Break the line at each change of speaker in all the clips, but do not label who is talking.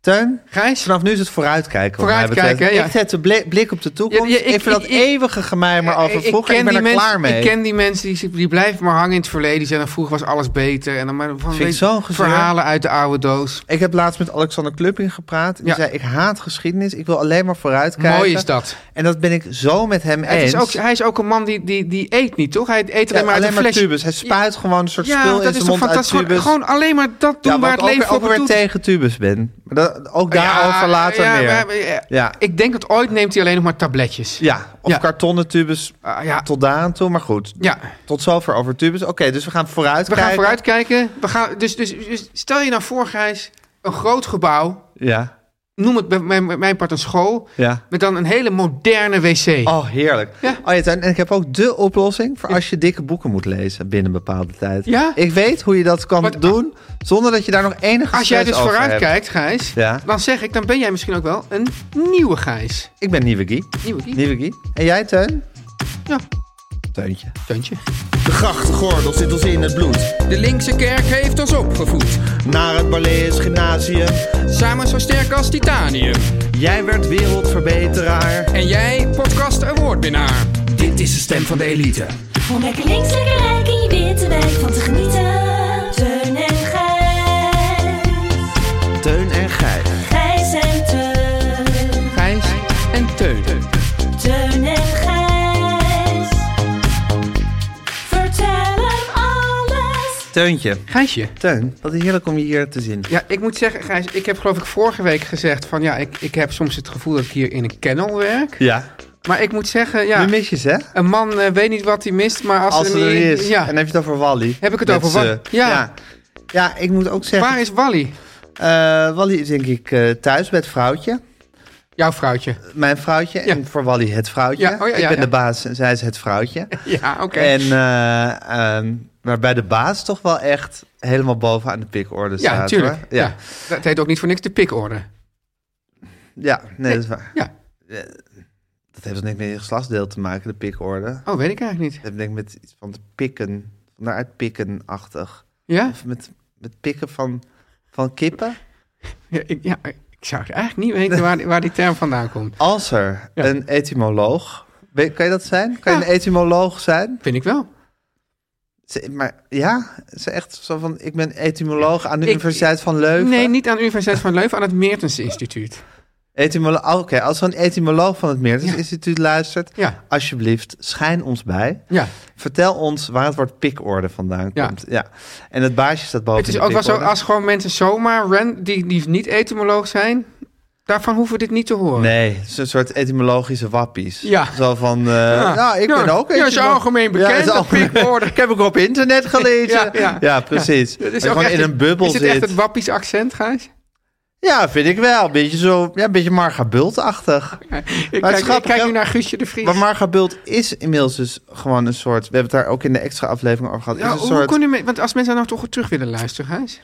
Teun,
Gijs?
vanaf nu is het vooruitkijken. wat mij
Vooruitkijken,
betreft.
ja.
Ik zet de blik, blik op de toekomst.
Ja, ja, ik-
ik vind dat
ik-
eeuwige gemijmer over
Eh, Ik-
vroeger. Ik,
ken
ben er
die mensen-
klaar mee.
Ik ken die mensen die, die blijven maar hangen in het verleden. Die zeggen, vroeger was alles beter. En dan maar van
Vind ik
weet-
zo'n gezeur.
verhalen uit de oude doos.
Ik heb laatst met Alexander Klupping gepraat. Die
Ja.
zei, ik haat geschiedenis. Ik wil alleen maar vooruitkijken.
Mooi is dat.
En dat ben ik zo met hem
Het
eens.
is ook, hij is ook een man die, die, die eet niet, toch? Hij eet
Ja,
alleen maar uit een flesje.
tubus. Hij spuit gewoon een soort spul in
dat
zijn
is toch
mond uit
fantastisch. Gewoon,
tubus.
gewoon alleen maar dat doen
ja,
waar
waar
het leven
ook,
voor
ook weer
bedoet.
tegen tubus ben. Maar dat, ook
Ja,
daarover later
ja,
meer.
maar- ja.
Ja.
Ik denk dat ooit neemt hij alleen nog maar tabletjes.
ja, of
Ja.
kartonnen tubus
Ah, ja.
tot daar aan toe. Maar goed,
Ja.
tot zover over tubus. Oké, dus we gaan vooruit
We gaan vooruitkijken. We gaan, dus, dus, dus stel je nou voor, Gijs, een groot gebouw.
Ja,
Noem het bij mijn, bij mijn part een school.
ja.
Met dan een hele moderne wc.
Oh, heerlijk.
Ja.
Oh, ja, Tuin, en ik heb ook de oplossing voor als je dikke boeken moet lezen binnen een bepaalde tijd.
Ja?
Ik weet hoe je dat kan
Wat-
doen zonder dat je daar nog enige
Als jij
stress
dus
over hebt.
vooruitkijkt, Gijs,
Ja.
dan zeg ik, dan ben jij misschien ook wel een nieuwe Gijs.
Ik ben Nieuwe Guy.
Nieuwe Guy.
Nieuwe Guy. En jij, Teun?
Ja.
Teuntje.
Teuntje.
De grachtgordel zit ons in het bloed.
De linkse kerk heeft ons opgevoed,
Naar het Balees Gymnasium.
samen zo sterk als titanium.
Jij werd wereldverbeteraar.
En jij, podcast awardwinnaar.
Dit is de stem van de elite.
Om lekker links, lekker rijk in je witte wijk van te genieten. Teun en Gijs.
Teun en Gijs.
Gijs en Teun.
Gijs en Teun.
Teun en Gijs. Vertel hem alles.
Teuntje.
Gijsje.
Teun, wat heerlijk om je hier te zien.
Ja, ik moet zeggen, Gijs, ik heb geloof ik vorige week gezegd van ja, ik, ik heb soms het gevoel dat ik hier in een kennel werk.
Ja.
Maar ik moet zeggen, ja,
Nu mis je ze, hè?
een man eh, weet niet wat hij mist, maar als,
Als
er
het er
niet-
niet is.
Ja.
En dan heb je het over Wally.
Heb ik het
Met
over
ze.
Wally? Ja.
ja. Ja, ik moet ook zeggen,
Waar is Wally,
eh, Wally is denk ik eh, thuis bij het vrouwtje.
jouw vrouwtje?
Mijn vrouwtje. En
Ja.
voor Wally het vrouwtje.
Ja, oh ja,
ik
ja,
ben
ja.
de baas en zij is het vrouwtje.
Ja, oké.
En eh, ehm, waarbij de baas toch wel echt helemaal bovenaan de pikorde staat.
Ja, natuurlijk.
hoor.
Ja.
Ja.
Dat heet ook niet voor niks de pikorde.
ja, nee, dat is waar.
Ja.
Dat heeft dan niks met je geslachtsdeel te maken, de pikorde.
Oh, weet ik eigenlijk niet.
Dat heeft denk ik met iets van te pikken, van daaruit pikken-achtig.
Ja?
Of met, met pikken van, van kippen.
Ja, ik, ja, ik zou het eigenlijk niet weten waar, die- waar die term vandaan komt.
Als er
Ja.
een etymoloog... weet- Kan je dat zijn? Kan je
Ja.
een etymoloog zijn?
Vind ik wel.
Ze- maar ja, ze echt zo van... Ik ben etymoloog aan de
Ik-
Universiteit van Leuven.
Nee, niet aan de Universiteit van Leuven, aan het Meertens Instituut.
Etymolo- oh, Oké, als er een etymoloog van het Meertens
Ja.
Instituut luistert...
Ja.
alsjeblieft, schijn ons bij.
Ja.
Vertel ons waar het woord pikorde vandaan
Ja.
komt. Ja. En het baasje staat boven
Het is
de
ook wel zo,
pikorde.
als gewoon mensen zomaar, ran, die, die niet etymoloog zijn, daarvan hoeven we dit niet te horen.
Nee, het is een soort etymologische wappies.
Ja.
Zo van, eh,
Ja.
nou, ik
Ja,
ben ook
ja, is
etymoloog.
algemeen bekend,
het is
dat
algemeen-
pikorde.
ik heb ook op internet gelezen.
Ja, ja.
precies.
Het
Dat je gewoon
echt
in een bubbel
Is het
zit.
echt het wappies accent, Gijs?
Ja, vind ik wel. Een beetje zo, ja, een beetje Marga Bult-achtig.
Ik
Maar het is
kijk, ik
grappig,
kijk
hè?
nu naar Guusje de Vries.
Maar Marga Bult is inmiddels dus gewoon een soort... We hebben het daar ook in de extra aflevering over gehad.
Ja,
is
hoe
een soort,
kon u me- want als mensen nou toch terug willen luisteren, Gijs?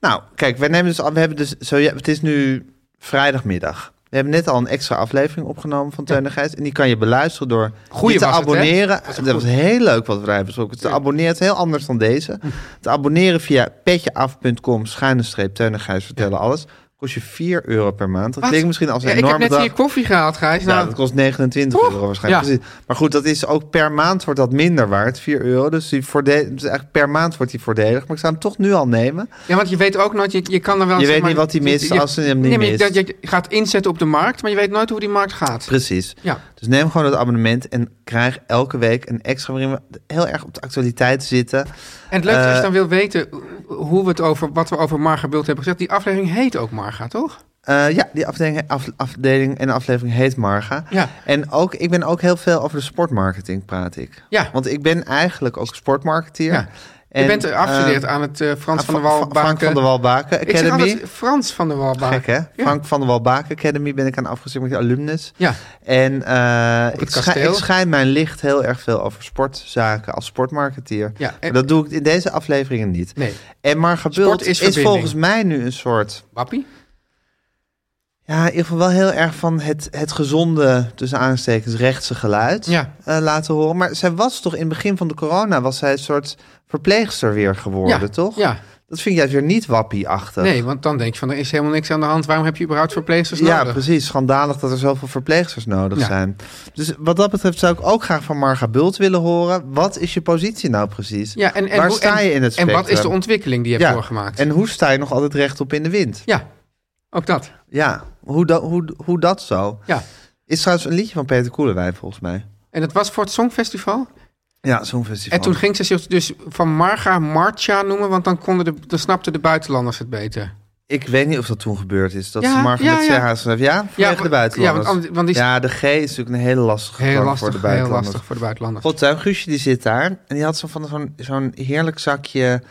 Nou, kijk, wij nemen dus, al- we hebben dus zo, ja, het is nu vrijdagmiddag. We We hebben net al een extra aflevering opgenomen van Teun en Gijs. En die kan je beluisteren door
Goeie
je te
was het, hè?
abonneren.
Was het
dat
goed? Hm.
was heel leuk wat we daar hebben besproken. Te abonneren is heel anders dan deze. Te abonneren via petjeaf.com schuine streep Teun en Gijs vertellen alles. Kost je 4 euro per maand. Dat
Wat?
klinkt misschien als een
Ja, ik heb
enorme
net
dag.
hier koffie gehaald, Gijs.
Ja,
Nou,
dat kost 29
Oeh,
euro waarschijnlijk.
ja.
Precies. Maar goed, dat is ook per maand wordt dat minder waard, 4 euro. Dus die voorde- dus eigenlijk per maand wordt die voordelig. Maar ik zou hem toch nu al nemen.
Ja, want je weet ook nooit, je, je kan er wel...
Je
zeg
weet
maar-
niet wat hij
je-
mist
je-
als hij hem niet
nee, maar je-
mist.
dat je gaat inzetten op de markt, maar je weet nooit hoe die markt gaat.
Precies.
Ja.
Dus neem gewoon het abonnement en krijg elke week een extra waarin we heel erg op de actualiteit zitten.
En het leuke is, als
Eh,
je dan wil weten hoe we het over, wat we over Marga Bult hebben gezegd. Die aflevering heet ook Marga, toch?
Eh, ja, die afdeling, af- afdeling en aflevering heet Marga.
Ja.
En ook, ik ben ook heel veel over de sportmarketing praat ik.
Ja.
Want ik ben eigenlijk ook sportmarketeer.
Ja.
En,
je bent
eh,
afgestudeerd aan het eh, Frans
aan
van der
Fra-
Walbaken.
Frank van der Walbaken
Ik zeg
Academy.
altijd Frans van der Walbaken.
Gek, hè?
Ja.
Frank van der Walbaken Academy ben ik aan afgestudeerd met die alumnus.
Ja.
En eh,
het
ik, schijn,
kasteel.
ik schijn mijn licht heel erg veel over sportzaken als sportmarketeer.
Ja, en-
Maar dat doe ik in deze afleveringen niet.
Nee.
En Marga
Sport
Bult
is
is,
verbinding.
volgens mij nu een soort...
Wappie?
Ja, in ieder geval wel heel erg van het, het gezonde, tussen aanstekens, rechtse geluid
Ja.
eh, laten horen. Maar zij was toch in het begin van de corona, was zij een soort verpleegster weer geworden,
Ja,
toch?
ja.
Dat vind jij weer niet wappie-achtig.
Nee, want dan denk je van, er is helemaal niks aan de hand. Waarom heb je überhaupt verpleegsters
Ja,
nodig?
precies. Schandalig dat er zoveel verpleegsters nodig
Ja.
zijn. Dus wat dat betreft zou ik ook graag van Marga Bult willen horen. Wat is je positie nou precies?
Ja, en, en,
Waar
hoe-
sta
en-
je in het
En
spectrum?
wat is de ontwikkeling die je hebt
Ja,
doorgemaakt?
En hoe sta je nog altijd rechtop in de wind?
Ja, ook dat.
Ja, hoe, da- hoe, hoe dat zo?
Ja.
Is trouwens een liedje van Peter Koelewijn volgens mij.
En dat was voor het Songfestival?
Ja, zo'n festival.
En toen ging ze zich dus van Marga Marcha noemen, want dan, konden de, dan snapten de buitenlanders het beter.
Ik weet niet of dat toen gebeurd is. Dat
Ja,
ze Marga
ja,
met
ja.
twee H's schreef. Ja, vanwege
wa-
de buitenlanders.
ja, want anders- want die-
Ja, de G is natuurlijk een hele lastige
Heel
klank
lastig,
voor de
heel
buitenlanders.
lastig voor de buitenlanders.
God, tuin, Guusje die zit daar. En die had zo van zo'n zo'n heerlijk zakje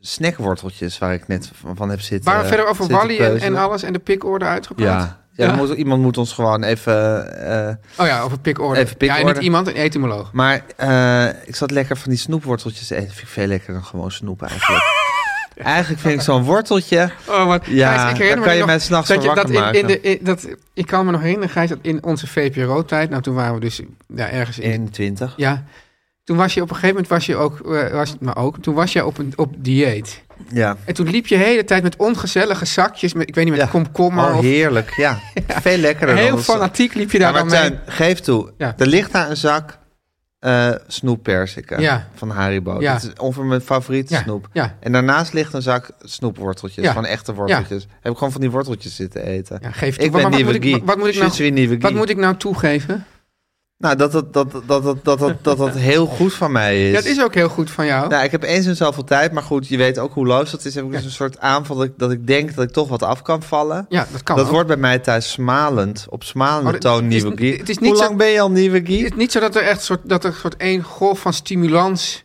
snackworteltjes waar ik net van, van heb zitten.
Waren we verder over
zitten
Wally en, en
peuzelen.
alles en de pikorde uitgepraat?
Ja. Ja, dan moet- iemand moet ons gewoon even... eh,
Oh ja, over pikorde.
Even
Ja, en
pikorde.
niet iemand, een etymoloog.
maar eh, ik zat lekker van die snoepworteltjes te eten. Vind ik veel lekkerder dan gewoon snoep eigenlijk. eigenlijk vind ik zo'n worteltje...
Oh, wat.
Ja,
Gijs,
daar
ik herinner me
kan je
nog
mij s'nachts
dat
van
je- dat
wakker
in- in
maken.
de- in- dat- Ik kan me nog herinneren, Gijs, dat in onze VPRO-tijd, nou toen waren we dus ja, ergens in,
21.
Ja. Toen was je op een gegeven moment was je ook, eh, was, maar ook, toen was je op, een, op dieet.
Ja.
En toen liep je de hele tijd met ongezellige zakjes, met, ik weet niet, met
Ja.
komkommer
Oh,
of...
heerlijk. Ja. Veel lekkerder dan
Heel
dat-
fanatiek liep je daar
Ja, maar
dan mee.
Tuin, geef toe.
Ja.
Er ligt daar een zak eh snoeppersiken
Ja.
van Haribo.
Ja.
Dat is ongeveer mijn favoriete
Ja,
snoep.
ja.
En daarnaast ligt een zak snoepworteltjes,
Ja.
van echte worteltjes. Heb ik gewoon van die worteltjes zitten eten.
Ja, geef toe.
ik
Maar
ben
wat
nieuwe
moet ik-
Guy.
wat moet ik nou-
Je suis nieuwe
Wat
Guy.
moet ik nou toegeven?
Nou, dat dat, dat, dat, dat, dat, dat, dat dat heel goed van mij is.
Ja, dat is ook heel goed van jou.
Nou, ik heb eens in zoveel tijd, maar goed, je weet ook hoe loos dat is. Heb ik dus een soort aanval dat ik, dat ik denk dat ik toch wat af kan vallen.
ja, dat kan
dat
ook.
wordt bij mij thuis smalend, op smalende
Oh, dat-
toon
het is-
nieuwe Guy.
het is niet
Hoe
zo-
lang ben je al nieuwe Guy?
Het is niet zo dat er echt soort, dat er soort één golf van stimulans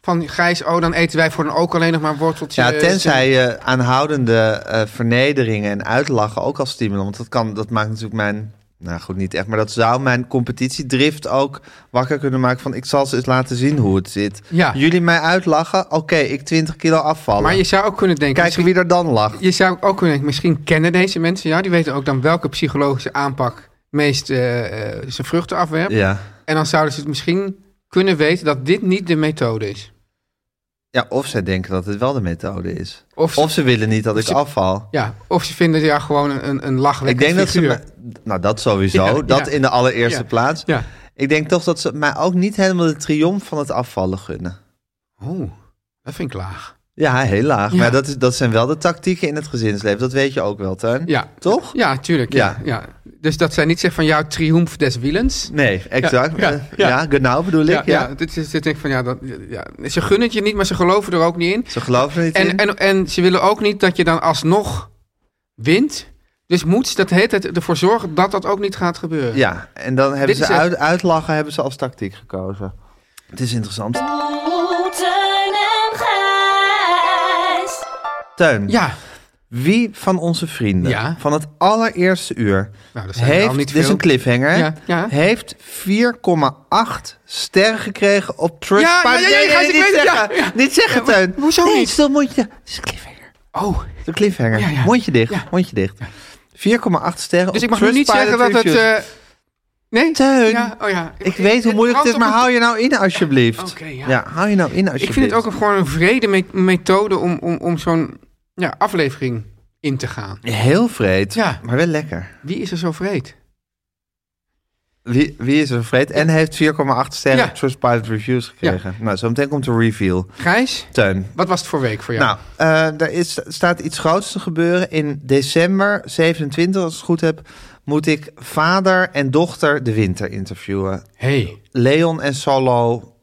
van Gijs, oh, dan eten wij voor dan ook alleen nog maar worteltjes.
Ja, tenzij je aanhoudende eh, vernederingen en uitlachen ook als stimulans. Want dat, kan, dat maakt natuurlijk mijn... Nou goed, niet echt. Maar dat zou mijn competitiedrift ook wakker kunnen maken van... ik zal ze eens laten zien hoe het zit.
Ja.
Jullie mij uitlachen? Oké, ik 20 kilo afvallen.
Maar je zou ook kunnen denken...
Kijken wie er dan lacht.
Je zou ook kunnen denken, misschien kennen deze mensen jou. Die weten ook dan welke psychologische aanpak meest eh, eh, zijn vruchten afwerpt.
Ja.
En dan zouden ze het misschien kunnen weten dat dit niet de methode is.
ja, of zij denken dat het wel de methode is.
Of ze-
Of ze willen niet dat ik
ze-
afval.
Ja, of ze vinden jou gewoon een, een, een
Ik
lachwekkend
denk dat ze...
figuur.
me- Nou, dat sowieso.
Ja,
dat
ja.
in de allereerste
Ja.
plaats.
Ja.
Ik denk toch dat ze mij ook niet helemaal de triomf van het afvallen gunnen. Oh,
Oeh, dat vind ik laag.
Ja, heel laag.
Ja.
Maar dat, is, dat zijn wel de tactieken in het gezinsleven. Dat weet je ook wel, Tuin.
Ja.
Toch?
Ja, tuurlijk. Ja. Ja. Dus dat zij niet zeggen van jouw triomf des wielens.
Nee, exact.
Ja,
Ja,
ja,
ja,
ja.
genau bedoel ik.
Ja,
Ja,
ja. dit is, dit denk ik van, ja, dat, ja, ze gunnen het je niet, maar ze geloven er ook niet in.
Ze geloven er niet
En,
in.
en, en ze willen ook niet dat je dan alsnog wint. Dus moet ze dat de hele tijd ervoor zorgen dat dat ook niet gaat gebeuren.
ja, en dan hebben
Dit
ze
is het.
uit, uitlachen hebben ze als tactiek gekozen. Het is interessant.
Oeh, Teun en Gijs.
Teun,
Ja.
wie van onze vrienden
Ja.
van het allereerste uur
Nou, dat zijn er
heeft,
al niet
dit is
veel.
een cliffhanger, hè?
Ja, ja.
heeft 4,8 sterren gekregen op Trustpilot.
ja, ja, ja,
Nee, nee,
Gijs, ik
niet,
weet het, ja,
zeggen,
ja.
niet zeggen,
Ja, maar
Teun.
hoezo
nee,
niet?
stil mondje. Het is een cliffhanger.
Oh,
De cliffhanger.
Ja, ja.
Mondje dicht.
Ja.
Mondje dicht. 4,8 sterren.
Dus
op
ik mag nu niet zeggen
Oh, Trustpilot
dat het...
reviews.
eh, nee?
Teun,
Ja, oh ja.
ik weet hoe moeilijk het is, maar hou je nou in alsjeblieft.
Oké, ja.
hou je nou in alsjeblieft.
Ik vind het ook een- gewoon een vrede me- methode om, om, om zo'n ja, aflevering in te gaan.
Heel vreed,
Ja.
maar wel lekker.
Wie is er zo vreed?
Wie, wie is er vreed en heeft 4,8 sterren
Ja.
op Trustpilot Reviews gekregen. Nou, zometeen komt de reveal.
Gijs,
Teun,
wat was het voor week voor jou?
Nou, eh, er is, staat iets groots te gebeuren. In december 27, als ik het goed heb, moet ik vader en dochter de winter interviewen.
hey,
Leon en Solo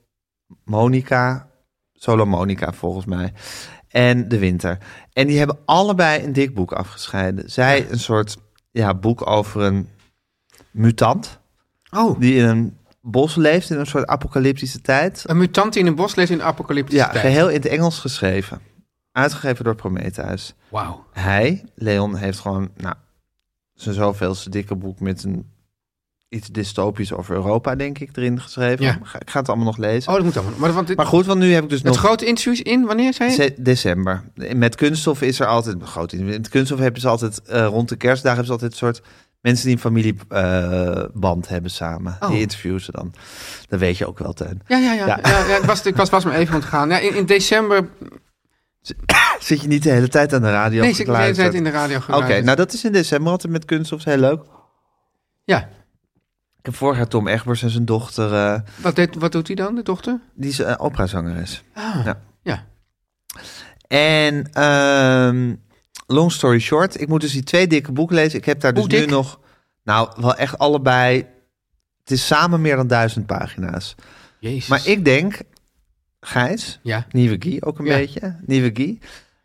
Monica. Solo Monica, volgens mij. En de winter. En die hebben allebei een dik boek afgescheiden. Zij een soort ja, boek over een mutant.
Oh.
Die in een bos leeft, in een soort apocalyptische tijd.
een mutant die in een bos leeft in de apocalyptische
Ja,
tijd.
geheel in het Engels geschreven. Uitgegeven door Prometheus.
Wauw.
Hij, Leon, heeft gewoon nou, zijn zoveelste dikke boek met een iets dystopisch over Europa, denk ik, erin geschreven.
Ja.
Ga- Ik ga het allemaal nog lezen.
Oh, dat moet allemaal. Maar, want dit,
maar goed, want nu heb ik dus
met
nog
grote interviews in, wanneer zei je?
ze- december. Met kunststof is er altijd groot. in- Met kunststof hebben ze altijd eh, rond de kerstdagen hebben ze altijd een soort mensen die een familieband hebben samen.
Oh.
Die interviewen ze dan. Dat weet je ook wel, Teun.
Ja, ja, ja. ja.
Ja.
ja, ik, was, ik was pas maar even ontgaan. Ja, in, in december...
Zit je niet de hele tijd aan de radio?
nee, zit ik de hele
gekluisterd?
tijd in de radio
Oké,
geluisterd.
nou dat is in december altijd met kunststof heel leuk.
Ja,
Ik heb vorig jaar Tom Egbers en zijn dochter. eh,
wat, deed, wat doet hij dan, de dochter?
Die is eh, operazangeres.
Ah,
Ja.
ja.
En ehm, long story short, ik moet dus die twee dikke boeken lezen. Ik heb daar dus
Hoe
nu
dik?
nog, nou wel echt allebei, het is samen meer dan duizend pagina's.
Jezus.
Maar ik denk, Gijs,
Ja,
nieuwe Guy ook een
Ja.
beetje, nieuwe Guy.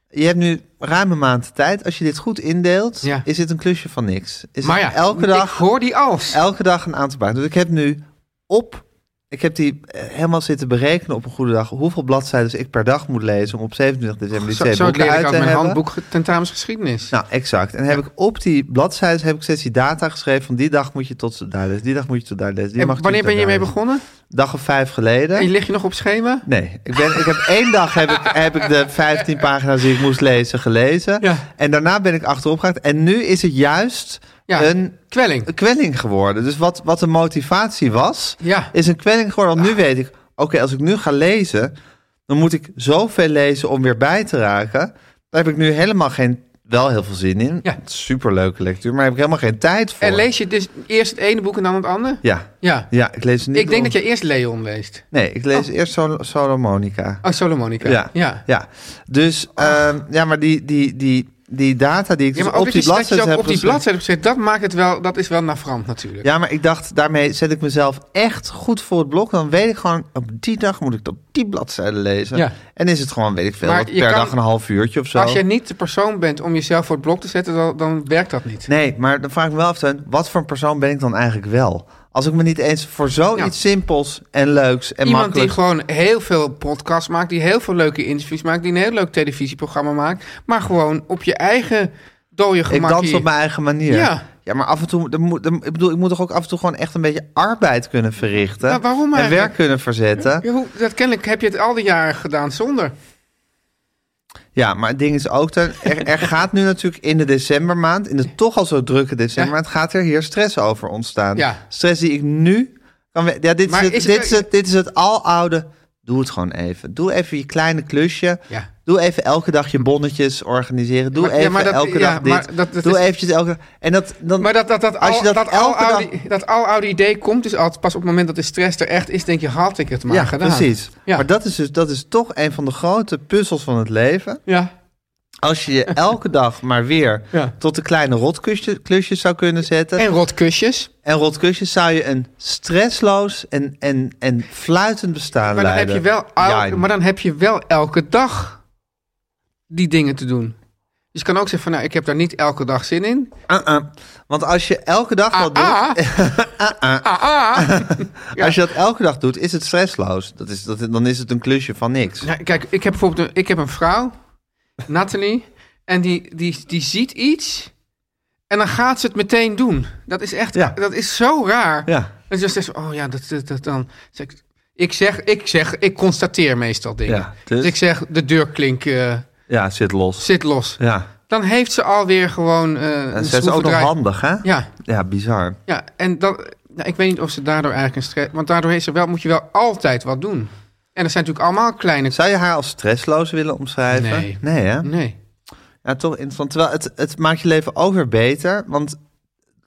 Je hebt nu ruim een maand de tijd. Als je dit goed indeelt,
Ja.
is dit een klusje van niks. Is
maar
het
ja,
elke
ik
dag
hoor die als.
elke dag een aantal pagina's. Dus ik heb nu op, ik heb die eh, helemaal zitten berekenen op een goede dag, hoeveel bladzijden ik per dag moet lezen om op 27 december die
Zo,
twee
zo
boeken
leer ik
uit
uit
te
mijn
hebben.
handboek ge- tentamensgeschiedenis.
Nou, exact. En heb ik op die bladzijden heb ik steeds die data geschreven van die dag moet je tot daar lezen, die dag moet je tot daar lezen. Die
En
mag je
wanneer
tot
ben je
daar
mee
lezen.
begonnen?
Dag of vijf
En
geleden.
lig je nog op schema?
Nee, ik, ben, ik heb één dag heb ik, heb ik de 15 pagina's die ik moest lezen gelezen.
Ja.
En daarna ben ik achterop gegaan. En nu is het juist
Ja,
een
kwelling.
een kwelling geworden. Dus wat, wat de motivatie was,
Ja.
is een kwelling geworden. Want
Ah.
nu weet ik, oké, als ik nu ga lezen, dan moet ik zoveel lezen om weer bij te raken. Daar heb ik nu helemaal geen, wel heel veel zin in.
Ja.
Het is Superleuke lectuur, maar daar heb ik helemaal geen tijd voor.
En lees je dus eerst het ene boek en dan het andere?
Ja,
Ja.
ja ik lees niet.
Ik denk
om-
dat je Oh. eerst Leon leest.
Nee, ik lees eerst Sol Solo Monica.
Oh, Solomonica.
Ja.
ja.
Ja, dus, ehm, ja, maar die, die, die, die data die ik
Oh. Ja,
dus
maar ook
op
dat je
die
dat je
bladzijde
ook
heb
op die
gezet-
bladzijde hebt gezet, dat maakt het wel, dat is wel navrant natuurlijk.
Ja, maar ik dacht, daarmee zet ik mezelf echt goed voor het blok. Dan weet ik gewoon, op die dag moet ik op die bladzijde lezen.
Ja.
En is het gewoon, weet ik veel,
Maar
wat,
je
per
kan-
dag een half uurtje of zo.
Als jij niet de persoon bent om jezelf voor het blok te zetten, dan, dan werkt dat niet.
Nee, maar dan vraag ik me wel af, Teun, wat voor een persoon ben ik dan eigenlijk wel? Als ik me niet eens voor zoiets
Ja.
simpels en leuks en
Iemand die
makkelijk...
gewoon heel veel podcasts maakt, die heel veel leuke interviews maakt, die een heel leuk televisieprogramma maakt, maar gewoon op je eigen dode
Ik
gemak.
dans
hier-
op mijn eigen manier.
Ja.
maar af en toe, dan moet, dan- ik bedoel, ik moet toch ook af en toe gewoon echt een beetje arbeid kunnen verrichten.
Ja, waarom
en
eigenlijk?
werk kunnen verzetten.
Ja, hoe, dat kennelijk heb je het al die jaren gedaan zonder.
Ja, maar het ding is ook, Teun, er, er gaat nu natuurlijk in de decembermaand, in de toch al zo drukke decembermaand, gaat er hier stress over ontstaan.
Ja.
Stress die ik nu kan... we- Ja, dit is
Maar
het,
is het-
dit, is het, dit is het aloude, doe het gewoon even. Doe even je kleine klusje.
Ja.
Doe even elke dag je bonnetjes organiseren. Doe
Maar- ja,
even
maar dat-
elke
ja,
dag
maar
dit.
dat- dat
doe
is-
eventjes elke dag... En dat, dan,
Maar dat, dat, dat,
Als
al,
je dat
dat, al
elke dag-
oude, dat al oude idee komt dus altijd pas op het moment dat de stress er echt is, denk je, had ik het maar
ja,
gedaan.
precies.
Ja.
Maar dat is, dus, dat is toch een van de grote puzzels van het leven.
Ja.
Als je je elke dag maar weer
Ja.
tot de kleine rotklusjes klusjes zou kunnen zetten.
En rotkusjes.
en rotkusjes zou je een stressloos en, en, en fluitend bestaan
Maar dan, heb
leiden.
je wel elke,
Ja,
maar dan heb je wel elke dag die dingen te doen. Dus je kan ook zeggen van, nou, ik heb daar niet elke dag zin in.
Ah, ah. Want als je elke dag dat doet,
Ah, ah, ah. ja.
als je dat elke dag doet, is het stressloos. Dat is, dat, dan is het een klusje van niks.
Ja, kijk, ik heb bijvoorbeeld een, ik heb een vrouw, Nathalie, en die, die, die ziet iets en dan gaat ze het meteen doen. Dat is echt,
Ja.
dat is zo raar.
Ja.
En ze zegt, oh ja, dat, dat, dat dan. Zeg ik- ik zeg, ik zeg, ik constateer meestal dingen.
Ja,
dus?
dus?
ik zeg, de deurklink eh,
Ja, zit los.
zit los.
Ja.
dan heeft ze alweer gewoon eh
En
een
ze is ook nog
schroevendraaier.
handig, hè?
Ja,
Ja, bizar.
ja, en dan, nou, ik weet niet of ze daardoor eigenlijk een stress... Want daardoor heeft ze wel, moet je wel altijd wat doen. En dat zijn natuurlijk allemaal kleine...
Zou je haar als stressloos willen omschrijven?
Nee.
hè?
Nee.
Ja, toch interessant. Terwijl het, het maakt je leven ook weer beter. Want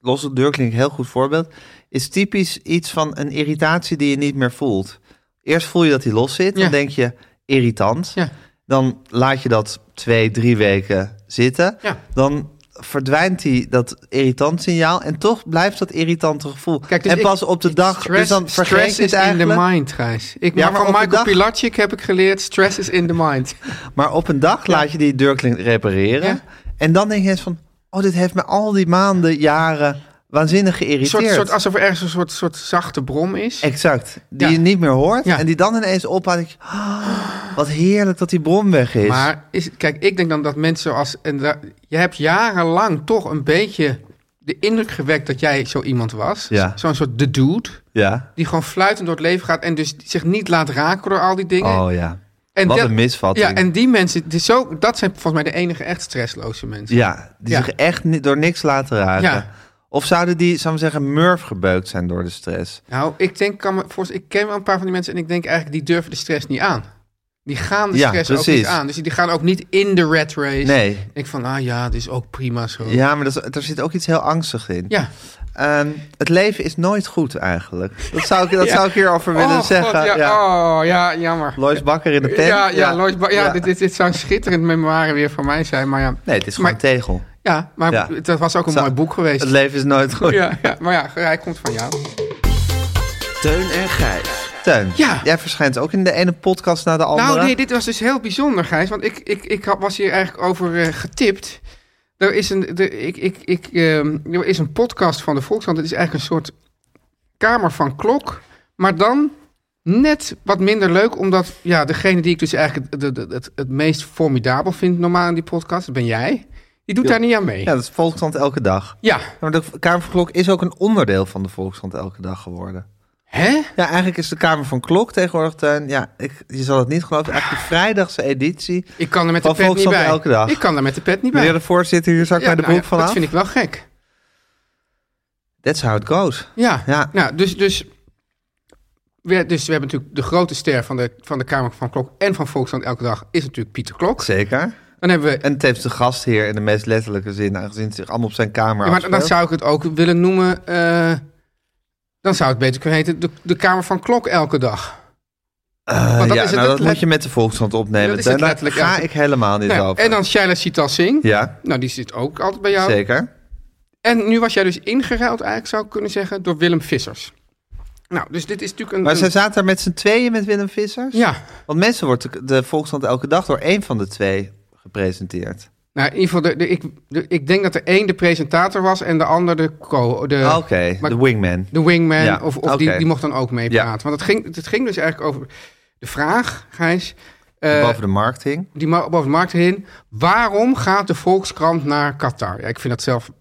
losse deur klinkt een heel goed voorbeeld. Is typisch iets van een irritatie die je niet meer voelt. Eerst voel je dat die los zit.
Ja.
Dan denk je irritant.
Ja.
Dan laat je dat twee, drie weken zitten.
Ja.
Dan verdwijnt die, dat irritant signaal. En toch blijft dat irritante gevoel.
Kijk, dus
en
ik-
pas op de dag.
Stress,
dus dan vergeet
stress
je het
is
eigenlijk.
in the mind, Gijs. Ik,
Ja, maar
maar van
op een
Michael
dag-
Pilatschik heb ik geleerd, stress is in the mind.
Maar op een dag laat je die deurklink repareren.
Ja.
En dan denk je eens van... Oh, dit heeft me al die maanden, jaren waanzinnig
Een
geïrriteerd.
soort, soort, alsof er ergens een soort, soort zachte brom is.
Exact. Die
Ja.
je niet meer hoort.
Ja.
En die dan ineens ophoudt. denk je, "Ah, wat heerlijk dat die bron weg is.
Maar is, kijk, ik denk dan dat mensen als... En da- je hebt jarenlang toch een beetje de indruk gewekt dat jij zo iemand was.
Ja.
Zo'n soort de dude.
ja.
Die gewoon fluitend door het leven gaat en dus zich niet laat raken door al die dingen.
Oh ja.
en
Wat
dat-
een misvatting.
Ja, en die mensen, die zo, dat zijn volgens mij de enige echt stressloze mensen.
Ja, die
Ja.
zich echt ni- door niks laten raken.
Ja.
Of zouden die, zou ik maar zeggen, murf gebeukt zijn door de stress?
Nou, ik denk, kan me voorstellen, ik ken wel een paar van die mensen en ik denk eigenlijk, die durven de stress niet aan. Die gaan de
Ja,
stress ook
precies.
niet aan. Dus die gaan ook niet in de rat race.
Nee.
Ik van, ah ja, dit is ook prima zo.
Ja, maar dat, is- er zit ook iets heel angstigs in.
Ja.
Ehm, het leven is nooit goed eigenlijk. Dat zou ik, dat
Ja.
zou ik hierover willen
Oh,
zeggen.
God, ja,
ja.
Oh, ja, jammer.
Lois Bakker in de pen.
Ja, ja, Lois Ba- ja,
Ja.
Dit, dit, dit zou een schitterend memoire weer van mij zijn. Maar ja,
Nee, het is gewoon
Maar-
tegel.
ja, maar
Ja.
dat was ook een
Zou-
mooi boek geweest.
Het leven is nooit goed.
Ja, ja, maar ja, hij komt van jou.
Teun en Gijs.
Teun,
Ja.
jij verschijnt ook in de ene podcast na de andere.
Nou, nee, dit was dus heel bijzonder, Gijs. Want ik, ik, ik had- was hier eigenlijk over eh, getipt. Er is, een, er, ik, ik, ik, ehm, er is een podcast van de Volkskrant. Het is eigenlijk een soort kamer van klok. Maar dan net wat minder leuk. Omdat ja, degene die ik dus eigenlijk het, het, het, het, het meest formidabel vind normaal in die podcast. Dat ben jij. Die doet
Ja.
daar niet aan mee.
Ja, dat is Volkskrant Elke Dag.
Ja.
Ja, Maar de Kamer van Klok is ook een onderdeel van de Volkskrant Elke Dag geworden.
Hè?
Ja, eigenlijk is de Kamer van Klok tegenwoordig, Teun... Ja, ik, je zal het niet geloven, eigenlijk de vrijdagse editie.
Ik kan er met
Van
de pet niet
Volkskrant
bij.
elke dag.
Ik kan er met de pet niet bij.
Meneer de voorzitter, hier zak
Ja,
mij de
nou
broek
ja,
vanaf.
Dat vind ik wel gek.
That's how it goes.
Ja,
Ja.
Nou, dus, dus, we, dus we hebben natuurlijk de grote ster van de, van de Kamer van Klok en van Volksland elke dag is natuurlijk Pieter Klok.
Zeker.
Dan hebben we.
En het heeft de gastheer in de meest letterlijke zin... aangezien het zich allemaal op zijn kamer
ja, maar
afspeelt.
dan zou ik het ook willen noemen. eh, dan zou het beter kunnen heten de, de Kamer van Klok elke dag.
Eh,
want dan
ja, nou,
is het
dat
letterlijk-
moet je met de Volkskrant opnemen.
Dat is
Teun,
het
daar
letterlijk,
ga
ja.
ik helemaal niet
Nou,
over.
en dan Shaila Sital Singh.
Ja,
Nou, die zit ook altijd bij jou.
zeker.
En nu was jij dus ingeruild, eigenlijk zou ik kunnen zeggen, door Willem Vissers. Nou, dus dit is natuurlijk een.
Maar zij
een-
zaten daar met z'n tweeën met Willem Vissers?
ja,
Want mensen wordt de, de Volkskrant elke dag door één van de twee gepresenteerd.
nou, in ieder geval, de, de- ik, de- ik denk dat de een de presentator was en de ander de co. De,
Ah, Oké,
maar-
de wingman.
De wingman,
Ja,
of, of die,
oké.
die mocht dan ook
Ja.
meepraten. Want het ging, het ging dus eigenlijk over de vraag, Gijs, eh,
boven de marketing.
die ma- boven de markt heen. Waarom gaat de Volkskrant naar Qatar? Ja, ik vind dat zelf een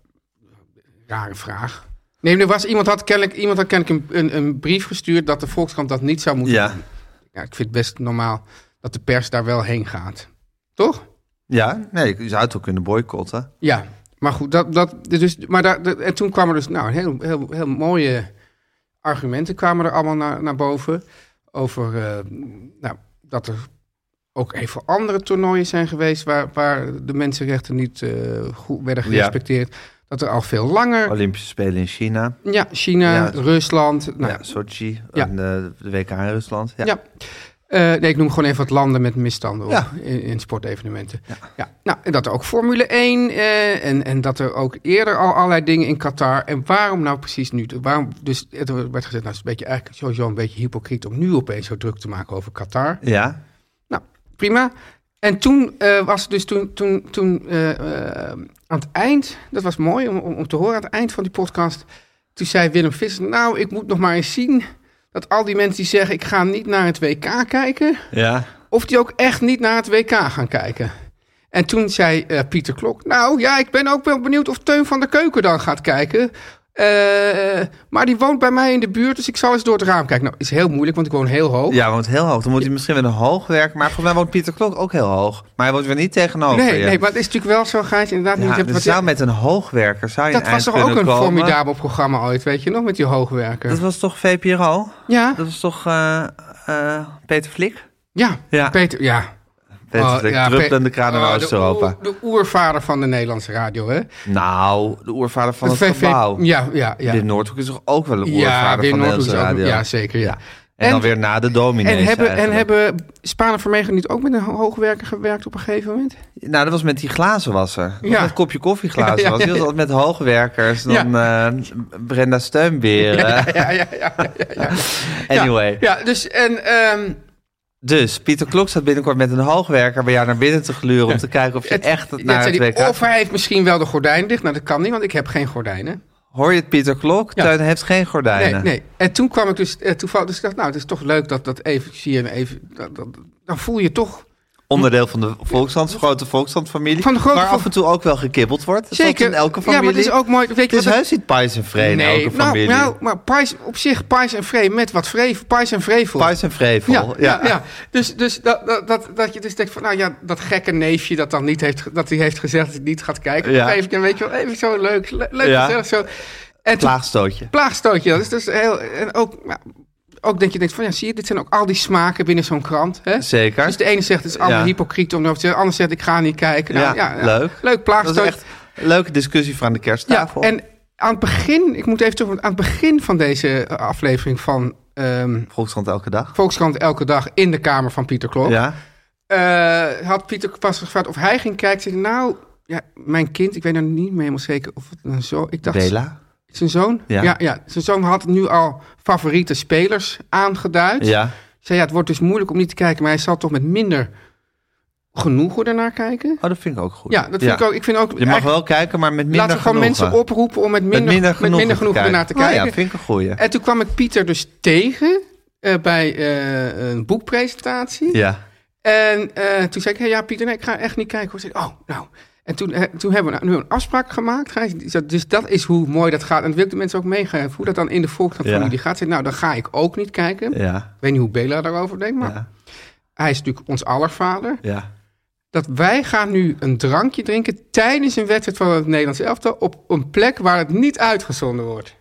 rare vraag. Nee, er was, iemand, had kennelijk, iemand had kennelijk een, een, een brief gestuurd dat de Volkskrant dat niet zou moeten
Ja.
doen. Ja, ik vind het best normaal dat de pers daar wel heen gaat. Toch?
Ja, nee, je zou het ook kunnen boycotten.
Ja, maar goed, dat, dat, dus, maar daar, dat- en toen kwamen er dus nou, heel, heel, heel mooie argumenten kwamen er allemaal naar, naar boven. Over eh, nou, dat er ook even andere toernooien zijn geweest waar, waar de mensenrechten niet eh, goed werden
Ja.
gerespecteerd. Dat er al veel langer.
Olympische Spelen in China.
Ja, China,
Ja.
Rusland. Nou,
ja, Sochi.
Ja.
En de, de WK in Rusland. Ja.
Ja. Eh, nee, ik noem gewoon even wat landen met misstanden op,
Ja.
in, in sportevenementen. Ja. Nou, en dat er ook Formule 1 eh, en, en dat er ook eerder al allerlei dingen in Qatar. En waarom nou precies nu? Waarom, dus het werd gezegd, nou, het is een beetje, eigenlijk sowieso een beetje hypocriet om nu opeens zo druk te maken over Qatar.
Ja.
Nou, prima. En toen eh, was het dus toen, toen, toen eh, eh, aan het eind, dat was mooi om, om, om te horen aan het eind van die podcast. Toen zei Willem Visser, nou, ik moet nog maar eens zien dat al die mensen die zeggen ik ga niet naar het WK kijken,
Ja.
of die ook echt niet naar het WK gaan kijken. En toen zei eh, Pieter Klok, nou ja, ik ben ook wel benieuwd of Teun van der Keuken dan gaat kijken. Eh, maar die woont bij mij in de buurt, dus ik zal eens door het raam kijken. Nou, is heel moeilijk, want ik woon heel hoog.
Ja, want heel hoog. Dan moet hij misschien weer hoog werken. Maar voor mij woont Pieter Klok ook heel hoog. Maar hij woont weer niet tegenover
nee,
je.
nee, maar het is natuurlijk wel zo, Gijs, inderdaad. nu je
ja,
het hebt,
dus
wat-
zou met een hoogwerker zou je
dat
een
was
eind
toch ook
kunnen
een
komen?
formidabel programma ooit, weet je nog, met die hoogwerker.
Dat was toch VPRO?
ja,
Dat was toch eh, eh, Peter Flik?
ja,
Ja.
Peter, ja.
Peter
Oh,
Flik,
ja,
druppelende
Pe-
kranen
oh,
naar
de
Oost-Europa.
oer- De, oervader van de Nederlandse radio, hè?
Nou, de oervader van het,
De VV
gebouw.
Ja, ja, ja.
Wim Noordhoek is toch ook wel een oervader
ja, Wim
van
Noordhoek
Nederlandse
is ook-
radio?
Ja, zeker, ja.
En, dan weer na de dominees
en hebben, en
eigenlijk.
hebben Spanen Vermegen niet ook met een ho- hoogwerker gewerkt op een gegeven moment?
Nou, dat was met die glazenwasser. Dat was
Ja.
Met kopje koffieglazen
Ja, ja,
was. Die was
ja.
altijd met hoogwerkers.
Ja.
Dan eh, Brenda Steunberen.
Ja, ja, ja.
Anyway.
Ja, dus en... ehm,
Dus Pieter Klok staat binnenkort met een hoogwerker bij jou naar binnen te gluren. Om te kijken of je
het-
echt
ja,
naar
zei
het
die,
WK...
Of hij heeft misschien wel de gordijn dicht. Nou, dat kan niet, want ik heb geen gordijnen.
Hoor je het Pieter Klok?
Ja.
Teun heeft geen
Nee,
gordijnen.
nee. En toen kwam ik dus eh, toevallig... Dus ik dacht, nou, het is toch leuk dat dat even... Zie je, even dat, dat, dan voel je toch...
Onderdeel van de Volksland, grote Volkslandfamilie.
Van de grote
waar
volk-
af en toe ook wel gekibbeld wordt. Zoals in elke familie.
Ja, maar het is ook mooi... Weet
Het
je
is
wat
heus niet pais en vree in elke
nou,
familie.
Nou, maar Pais, op zich, Pais en Vree met wat Vree, Pais en Vrevel.
Pais en vrevel.
ja, ja. ja. Dus, dus dat, dat, dat, dat je dus denkt van, nou ja, dat gekke neefje dat dan niet heeft, ge- dat hij heeft gezegd dat hij niet gaat kijken.
Ja.
Ja. Even, weet je wel, even zo leuk, le- leuk
Ja.
gezellig zo. En toen
Plaagstootje.
plaagstootje, dat is dus heel, en ook, ja, ook denk je, denkt van, ja, zie je, dit zijn ook al die smaken binnen zo'n krant, hè?
Zeker.
Dus de ene zegt, het is allemaal
Ja.
hypocriet om erover te zeggen. De ander zegt, ik ga niet kijken. Nou,
Ja,
ja,
leuk.
Leuk
Dat is
plaagstootje.
echt een leuke discussie van de
Ja,
kersttafel.
en aan het begin, ik moet even terug, want aan het begin van deze eh, aflevering van ehm,
Volkskrant elke dag.
Volkskrant Elke Dag in de kamer van Pieter Klok,
Ja.
eh, had Pieter pas gevraagd of hij ging kijken. Zei hij, nou, ja, mijn kind, ik weet nog niet meer helemaal zeker of het een zo. Ik dacht,
Bela.
zijn zoon?
Ja.
ja, Zijn zoon had nu al favoriete spelers aangeduid.
Ja.
Zei, ja, het wordt dus moeilijk om niet te kijken, maar hij zal toch met minder genoegen ernaar kijken.
Oh, dat vind ik ook goed.
Ja, dat vind ik ook. Ik vind ook
Je mag wel kijken, maar met minder
Laten we gewoon
genoegen.
mensen oproepen om met minder,
met minder genoegen,
genoegen ernaar te
Oh
kijken.
ja, vind ik een goeie.
En toen kwam ik Pieter dus tegen eh, bij eh, een boekpresentatie.
Ja.
En eh, toen zei ik, hey, ja Pieter, nee, ik ga echt niet kijken. Hoor. Zei, hij, oh, nou. En toen, eh, toen hebben we nou- nu een afspraak gemaakt. Gijs. Die zei, Dus dat is hoe mooi dat gaat. En dat wil ik de mensen ook meegeven. Hoe dat dan in de volkskrant
Ja.
van jullie gaat. Zei, nou, dan ga ik ook niet kijken.
Ja.
Ik weet niet hoe Bela daarover denkt, maar
Ja.
hij is natuurlijk ons aller vader.
Ja.
Dat wij gaan nu een drankje drinken tijdens een wedstrijd van het Nederlands elftal... op een plek waar het niet uitgezonden wordt.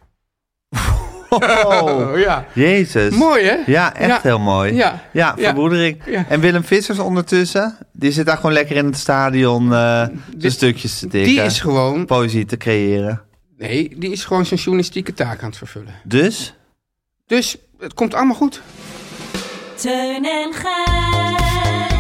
Oh,
ja.
jezus.
Mooi, hè?
Ja, echt
Ja.
heel mooi.
Ja.
ja
Ja.
verbroedering.
Ja.
En Willem Vissers ondertussen, die zit daar gewoon lekker in het stadion eh de
Die-
stukjes te tikken.
Die is gewoon...
Poëzie te creëren.
Nee, die is gewoon zijn journalistieke taak aan het vervullen.
Dus,
Dus het komt allemaal goed.
Teun en Gijs.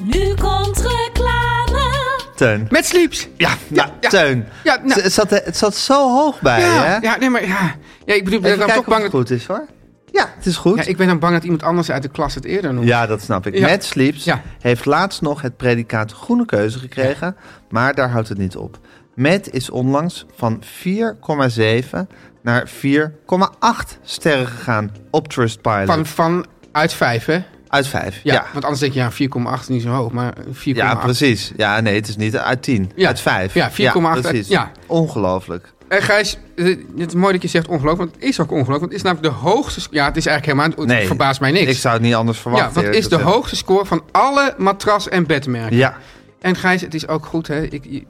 Nu komt reclame.
Teun.
Met Sleeps.
Ja, nou,
ja.
Teun.
Ja, nou-
Z- het, zat, het zat zo hoog bij, hè?
Ja, ja, nee, maar ja. ja ik bedoel, ik ben
Even
dan
kijken
toch
of het
bang dat...
goed is, hoor. Ja, het is goed.
Ja, ik ben dan bang dat iemand anders uit de klas het eerder noemt.
Ja, dat snap ik.
Ja.
Matt Sleeps
Ja.
heeft laatst nog het predicaat groene keuze gekregen, maar daar houdt het niet op. Matt is onlangs van 4,7 naar 4,8 sterren gegaan op Trustpilot.
Van, van uit vijf, hè? Ja,
Uit 5, ja. Ja,
Want anders denk je, ja, 4,8 is niet zo hoog, maar 4,8.
precies. Ja, nee, het is niet uit 10.
Ja.
Uit 5.
Ja, 4,8
precies.
uit- ja.
Ongelooflijk.
En Gijs, eh, het is mooi dat je zegt ongelooflijk, want het is ook ongelooflijk. Want het is namelijk de hoogste... sc- Ja, het is eigenlijk helemaal... Het
Nee,
verbaast mij niks.
Ik zou het niet anders verwachten.
ja, want het
eerlijk
is de
gezegd.
hoogste score van alle matras- en bedmerken.
Ja,
En Gijs, het is ook goed, hè? Ik, je-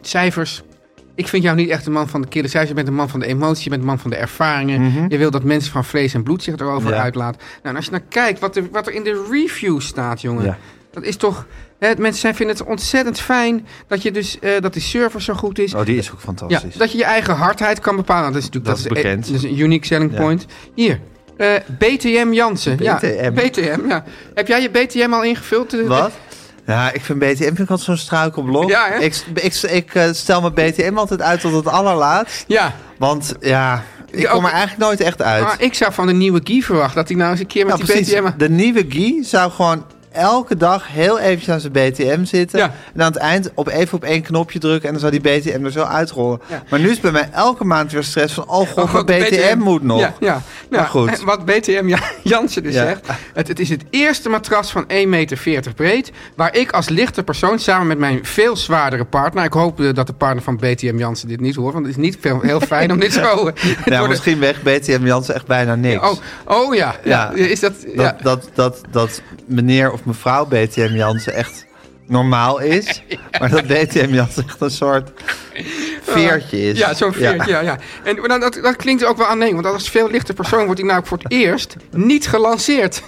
cijfers. Ik vind jou niet echt een man van de kille cijfers. Je bent een man van de emotie, je bent een man van de ervaringen. Je wil dat mensen van vlees en bloed zich erover
Mhm. Ja.
uitlaten. Nou, en als je nou kijkt wat er, wat er in de review staat, jongen.
Ja.
Dat is toch... Hè, mensen zijn, vinden het ontzettend fijn dat, je dus, eh, dat die server zo goed is.
oh, die is ook
ja,
fantastisch.
dat je je eigen hardheid kan bepalen. Nou, Dat is natuurlijk
Dat is
dat is, eh,
bekend.
dat is een unique selling
Ja.
point. Hier, eh, BTM Jansen. Ja,
BTM.
BTM, ja. Heb jij je BTM al ingevuld? Eh,
Wat? Ja, ik vind BTM vind ik altijd zo'n struikelblok.
Ja, hè?
ik, ik, ik eh, stel mijn BTM altijd uit tot het allerlaatst.
Ja. Ah,
Want ja, ik
Ja,
kom er
ook-
eigenlijk nooit echt uit.
Maar ik zou van de nieuwe Guy verwachten dat hij nou eens een keer met
Ja,
die
precies.
BTM...
De nieuwe Guy zou gewoon elke dag heel eventjes aan zijn BTM zitten.
Ja.
En aan het eind op even op één knopje drukken. En dan zou die BTM er zo uitrollen.
Ja.
Maar nu is bij mij elke maand weer stress van... Oh god,
Oh,
mijn
god,
BTM,
BTM.
moet nog.
Ja, ja.
Maar
Nou,
goed.
en Wat BTM Ja- Jansen dus
Ja.
zegt. Het, het is het eerste matras van 1,40 meter breed. Waar ik als lichte persoon samen met mijn veel zwaardere partner. Ik hoop eh, dat de partner van BTM Jansen dit niet hoort. Want het is niet veel, heel fijn om dit zo. eh, door
Nou,
de-
misschien weg BTM Jansen echt bijna niks.
Oh, oh ja. ja.
Ja.
Is dat.
dat,
ja.
dat, dat, dat meneer of mevrouw BTM Jansen echt normaal is. Maar dat BTM Jansen echt een soort veertje is.
Ja, zo'n veertje, ja. ja, En nou, dat, dat klinkt ook wel aannemelijk, want als veel lichter persoon wordt hij nou voor het eerst niet gelanceerd.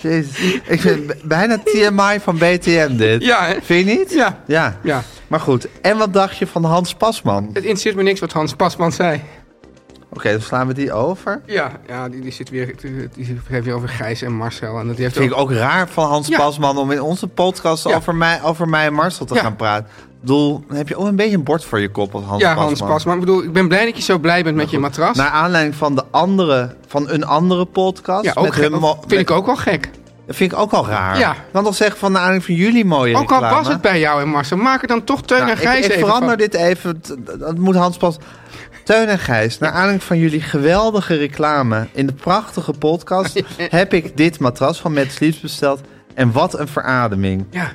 Jezus. Ik vind b- bijna TMI van BTM dit.
Ja, hè?
Vind je niet?
Ja.
ja.
Ja.
Maar goed, en wat dacht je van Hans Pasman? Oké,
Het interesseert me niks wat Hans Pasman zei.
dan slaan we die over.
Ja, ja die, die zit weer, die, die heeft weer over Gijs en Marcel. En dat die heeft
Vind ik
ook-
ook raar van Hans
Ja.
Pasman om in onze podcast
Ja.
over, mij, over mij en Marcel te
Ja.
gaan praten. Ik bedoel, dan heb je ook een beetje een bord voor je kop als Hans
ja,
Pasman. Nou,
Hans Pasman. Ik bedoel, ik ben blij dat je zo blij bent met je matras.
Naar aanleiding van, de andere, van een andere podcast.
ja, ook
met
gek,
hun mo-
vind
met-
ik ook wel gek.
Dat vind ik ook al raar.
Ja.
Want dan zeggen van naar aanleiding van jullie mooie
Ook al
reclame.
was het bij jou en Marcel, maak er dan toch Teun
Nou,
en Gijs
ik, ik
even
verander
van.
dit even. T- Dat dat moet Hans pas. Teun en Gijs, naar aanleiding van jullie geweldige reclame in de prachtige podcast... heb ik dit matras van Matt Sleeps besteld. En wat een verademing.
Ja,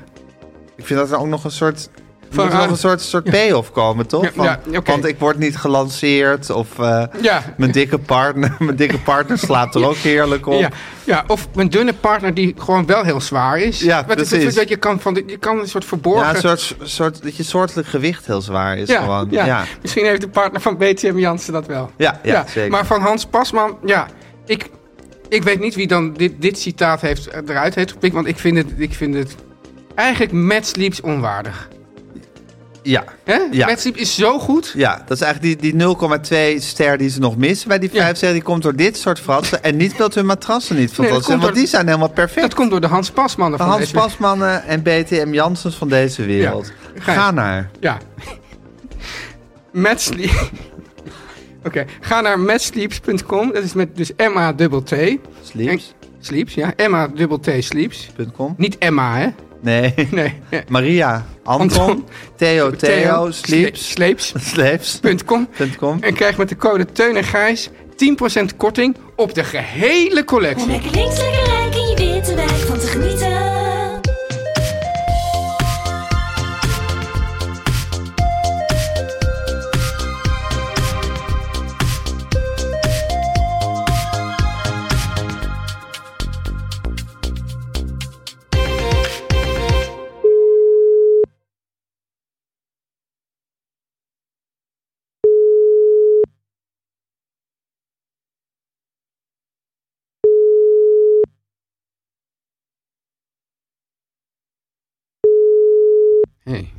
Ik vind dat er ook nog een soort... Er moet nog
Veradem-
een soort, soort payoff komen, toch?
Ja,
Van,
ja, oké.
Want ik word niet gelanceerd of eh,
Ja.
mijn, dikke partner, mijn dikke partner slaapt er ook heerlijk op.
ja, ja, of een dunne partner die gewoon wel heel zwaar is.
Ja,
Wat is-
precies.
Dat je kan, van, de- je kan een soort verborgen...
Ja, een soort, soort, dat je soortelijk gewicht heel zwaar is.
Ja,
gewoon.
ja.
Ja.
misschien heeft de partner van BTM Jansen dat wel.
Ja, ja, zeker.
Maar van Hans Pasman, ja, ik, ik weet niet wie dan dit, dit citaat heeft, eh, eruit heeft gepikt, want ik vind het, ik vind het eigenlijk Mad Sleeps onwaardig.
Ja.
Hè?
Ja.
Mad Sleep is zo goed.
Ja, dat is eigenlijk die, die 0,2 ster die ze nog missen bij die
Ja.
vijf ster. Die komt door dit soort fratsen. En niet dat hun matrassen niet van
Nee, dat
zijn,
komt
want
door-
die zijn helemaal
Dat
perfect.
komt door de Hans Pasmannen
De
van
Hans
deze-
Pasmannen en BTM Janssens van deze wereld.
Ja. Gijs.
Ga naar.
Ja. Mad Sleep. Oké, ga naar madsleeps.com. Dat is met dus M-A-T-T.
Sleeps.com.
Sleeps, ja. M-A-T-T Sleeps. Niet Emma, hè?
Nee.
Nee.
Maria, Anton,
Anton,
Theo, Theo,
Sleeps.
Sleeps. Sleeps.com.
Sleeps.com. En krijg met de code Teun en Gijs 10% korting op de gehele
Om
collectie.
lekker links, lekker rijk in je witte wijk van te genieten.
Hey.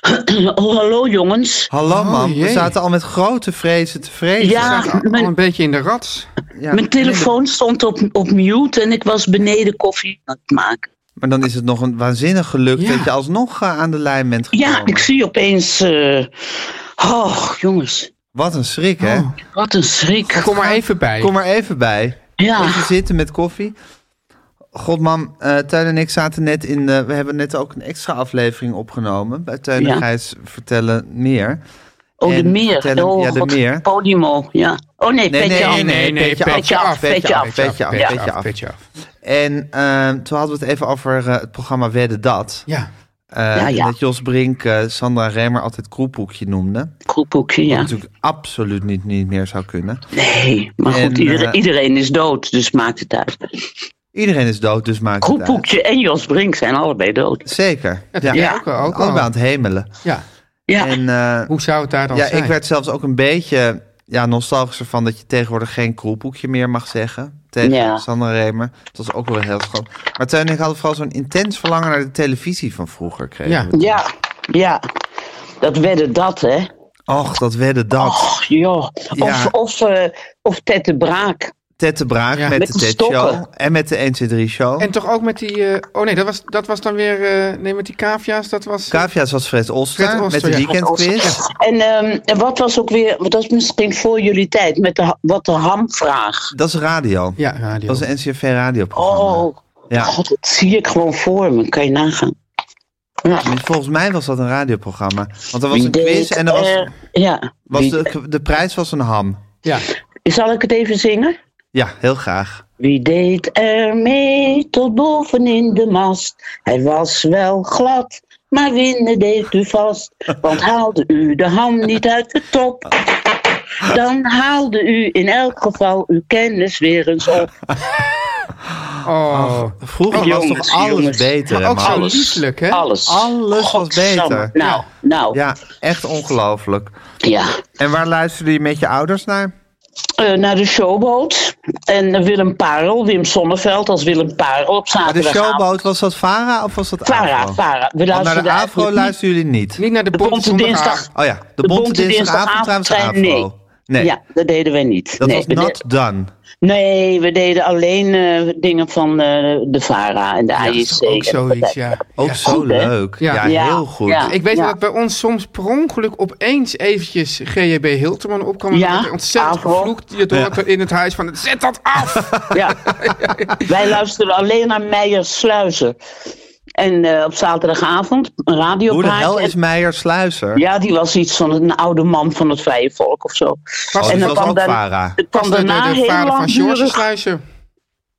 Oh, hallo jongens.
Hallo
Oh,
man, we
jee.
zaten al met grote vrezen te vrezen. nou,
Ja,
Al al een
mijn,
beetje in de rats.
Ja.
mijn telefoon stond op, op mute en ik was beneden koffie aan het maken.
Maar dan is het nog een waanzinnig geluk
Ja.
dat je alsnog eh, aan de lijn bent gekomen.
Ja, ik zie opeens. eh, oh, jongens.
Wat een schrik, hè?
Oh.
Wat een schrik.
Kom maar even bij.
Kom er even bij.
Ja.
Even zitten met koffie. God, mam, eh, Teun en ik zaten net in... de- we hebben net ook een extra aflevering opgenomen. Bij Teun en
Ja.
Gijs vertellen meer.
Oh, de
en
meer.
vertellen-
oh,
ja, de
God,
meer.
Podimo. Ja. Oh nee,
Nee,
petje
nee,
af.
nee, nee. petje af, petje af, petje af, petje af.
petje af.
En eh, toen hadden we het even over eh, het programma Wedden Dat.
Ja.
Eh,
Ja, ja.
Dat Jos Brink eh, Sandra Remer altijd kroephoekje noemde.
Ah. Groephoekje, ja.
Natuurlijk absoluut niet, niet meer zou kunnen.
Nee, maar
En,
goed, iedereen,
eh,
iedereen is dood, dus maakt het uit.
Iedereen is dood, dus maakt het uit.
Groephoekje en Jos Brink zijn allebei dood.
Zeker.
Dat
Ja.
heb jij
Ja.
ook, wel- ook
Allemaal
al.
aan het hemelen.
Ja.
Ja,
En, eh,
Oh. Hoe zou het daar dan
Ja,
zijn?
ik werd zelfs ook een beetje ja, nostalgisch ervan dat je tegenwoordig geen kroelboekje meer mag zeggen. Tegen
Ja.
Sandra Remer. Dat was ook wel heel schoon. Maar Teun en ik hadden vooral zo'n intens verlangen naar de televisie van vroeger. Kregen.
Ja.
we.
ja, ja. Dat werden dat, hè.
Och, dat werden dat.
Och, joh. Of,
Ja.
of, eh, of Tette Braak.
Tette Braak
Ja.
met,
Met
de
de
Ted Show.
stokken.
En met de 1, 2, 3 Show.
En toch ook met die... eh, oh nee, dat was, dat was dan weer... eh, nee, met die cavia's, dat was...
Cavia's was Fred Olster,
Fred Olster,
met de
ja.
weekendquiz.
En, ehm, en wat was ook weer, want dat is misschien voor jullie tijd, met de, ha- wat de hamvraag.
Dat is radio.
ja, radio.
Dat is een NCRV radioprogramma.
Oh,
Ja.
god, dat zie ik gewoon voor me, kan je nagaan. Ja.
En Volgens mij was dat een radioprogramma. Want er was
Wie
een quiz
deed
en er was,
er- ja.
was
Wie-
de, de prijs was een ham.
ja.
Zal ik het even zingen?
Ja, heel graag.
Wie deed er mee tot boven in de mast? Hij was wel glad, maar winnen deed u vast. Want haalde u de ham niet uit de top, dan haalde u in elk geval uw kennis weer eens op.
Oh.
Vroeger was
jongens,
toch alles
jongens.
beter,
Maar ook
hè,
zo
man?
Alles.
lieflijk, hè?
Alles.
Alles was
Godsamme.
beter.
Nou, nou, ja.
Ja, echt ongelooflijk. En waar luisterde je met je ouders naar?
Eh, naar de showboot. En eh, Willem Parel, Wim Sonneveld als Willem Parel op
Maar de
zaterdag.
showboot, was dat Vara of was dat
Para,
Afro?
para.
Want naar
We
de Afro
luisterden eigenlijk niet-
luisteren jullie niet.
Niet naar de
De
bonte
Bonte
zondagavond.
Dinsdag.
Oh ja, de,
De
bonte
Bonte
dinsdagavond trouwens de Afro.
dinsdagavond,
Nee,
Ja, dat deden wij niet.
dat
nee,
was
we
not
de-
done.
nee, we deden alleen eh, dingen van eh, de VARA en de
Ja, dat is
AJC.
toch ook zoiets, ja.
Ook
Ja.
zo
goed, hè?
leuk. Ja,
Ja.
Ja,
heel goed.
ja.
Ik weet
Ja.
dat bij ons soms per ongeluk opeens eventjes GJB Hilterman opkwam. En
Ja,
dat werd ontzettend
Avro.
gevloekt hierdoor in het huis van... Zet dat af!
Ja. Wij luisterden alleen naar Meijer Sluizen. En eh, op zaterdagavond, een
Hoe de
radiopraatje.
hel is Meijer Sluiser?
Ja, die was iets van een oude man van het vrije volk of zo.
Oh,
en
dat
dan
was
kwam
ook
dan-
Vara.
Het
Was
kwam
de, de,
daarna
de
heel
vader van George
langdurig...
Sluizen.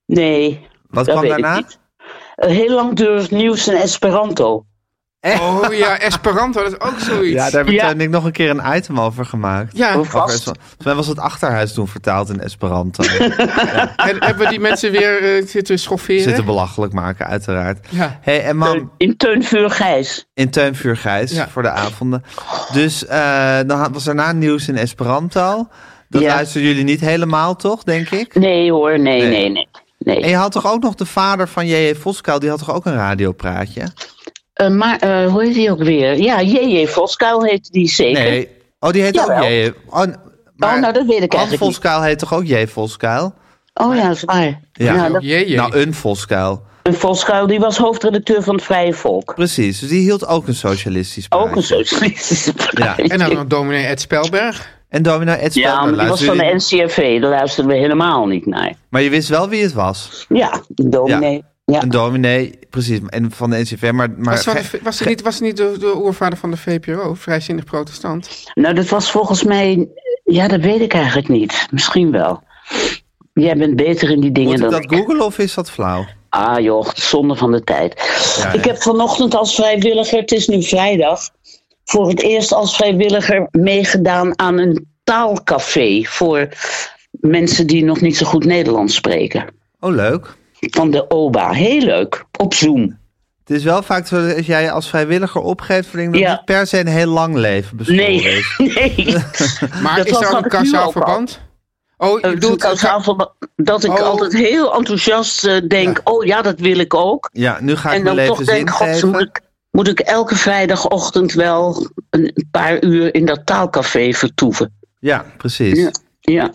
Nee,
Wat
dat
kwam
weet
daarna?
ik niet. Eh, heel langdurig nieuws in Esperanto.
Oh ja, Esperanto, dat is ook zoiets.
Ja, daar Oh. heb ik,
Ja.
eh, Nick nog een keer een item over gemaakt.
Ja,
Of
Over
vast.
Esperanto. Volgens mij was het achterhuis toen vertaald in Esperanto.
en hebben we die mensen weer eh, zitten schofferen?
Zitten belachelijk maken, uiteraard.
Ja.
Hey, en mam,
In Teunvuur Gijs.
in Teunvuur Gijs
Ja.
voor de avonden. Dus eh, dan had- was daarna nieuws in Esperanto. Dat
Ja.
luisterden jullie niet helemaal, toch, denk ik?
Nee hoor, nee,
Nee.
nee, nee. nee.
En je had toch ook nog de vader van J.J. Voskuil, die had toch ook een radiopraatje?
Eh, maar eh, hoe heet die ook weer? Ja, J.J. Voskuil heet die zeker.
Nee. Oh, die heet ook
Jawel.
J.J. Oh, n-
Oh, nou, dat weet ik
Han
eigenlijk niet.
Voskuil heet toch ook J. Voskuil?
Oh ja, dat is waar.
Ja.
Ja.
Oh,
dat,
Jee, jee.
Nou, een Voskuil.
en Voskuil die was hoofdredacteur van het Vrije Volk.
Precies. Dus die hield ook een socialistisch praatje.
Ook een socialistische partij.
en dan nog dominee Ed Spelberg.
En dominee Ed Spelman
Ja, maar die was
luisterde
van de
jullie-
NCRV. Daar luisterden we helemaal niet naar.
Maar je wist wel wie het was.
Ja, een dominee. Ja.
Een dominee, precies. En van de NCV. Maar, maar
Was, van de
ge-
v- was hij niet, was hij niet de, de oervader van de VPRO, vrijzinnig protestant?
Nou, dat was volgens mij... Ja, dat weet ik eigenlijk niet. Misschien wel. Jij bent beter in die dingen
moet ik
dan
dat
ik.
googlen of is dat flauw?
Ah joh, zonde van de tijd.
Ja,
ik
ja.
heb vanochtend als vrijwilliger, het is nu vrijdag, voor het eerst als vrijwilliger meegedaan aan een taalcafé voor mensen die nog niet zo goed Nederlands spreken.
Oh, leuk.
Van de OBA. Heel leuk. Op Zoom.
Het is wel vaak zo dat als jij je als vrijwilliger opgeeft voor dingen, dat
Ja.
niet per se een heel lang leven beschoren
Nee,
is.
nee.
Maar
Dat
is
was
daar ook
wat
een
ik nu
kausaal
ook al- Eh,
verband? Oh, je
Ik bedoel,
bedoelt...
ik als aanval- dat ik
Oh.
altijd heel enthousiast eh, denk, oh ja, dat wil ik ook.
Ja, nu ga ik
En dan
mijn
toch
leven zin
denk, god,
geven.
moet ik, moet ik elke vrijdagochtend wel een paar uur in dat taalcafé vertoeven.
Ja, precies. Ja.
Ja. Ja.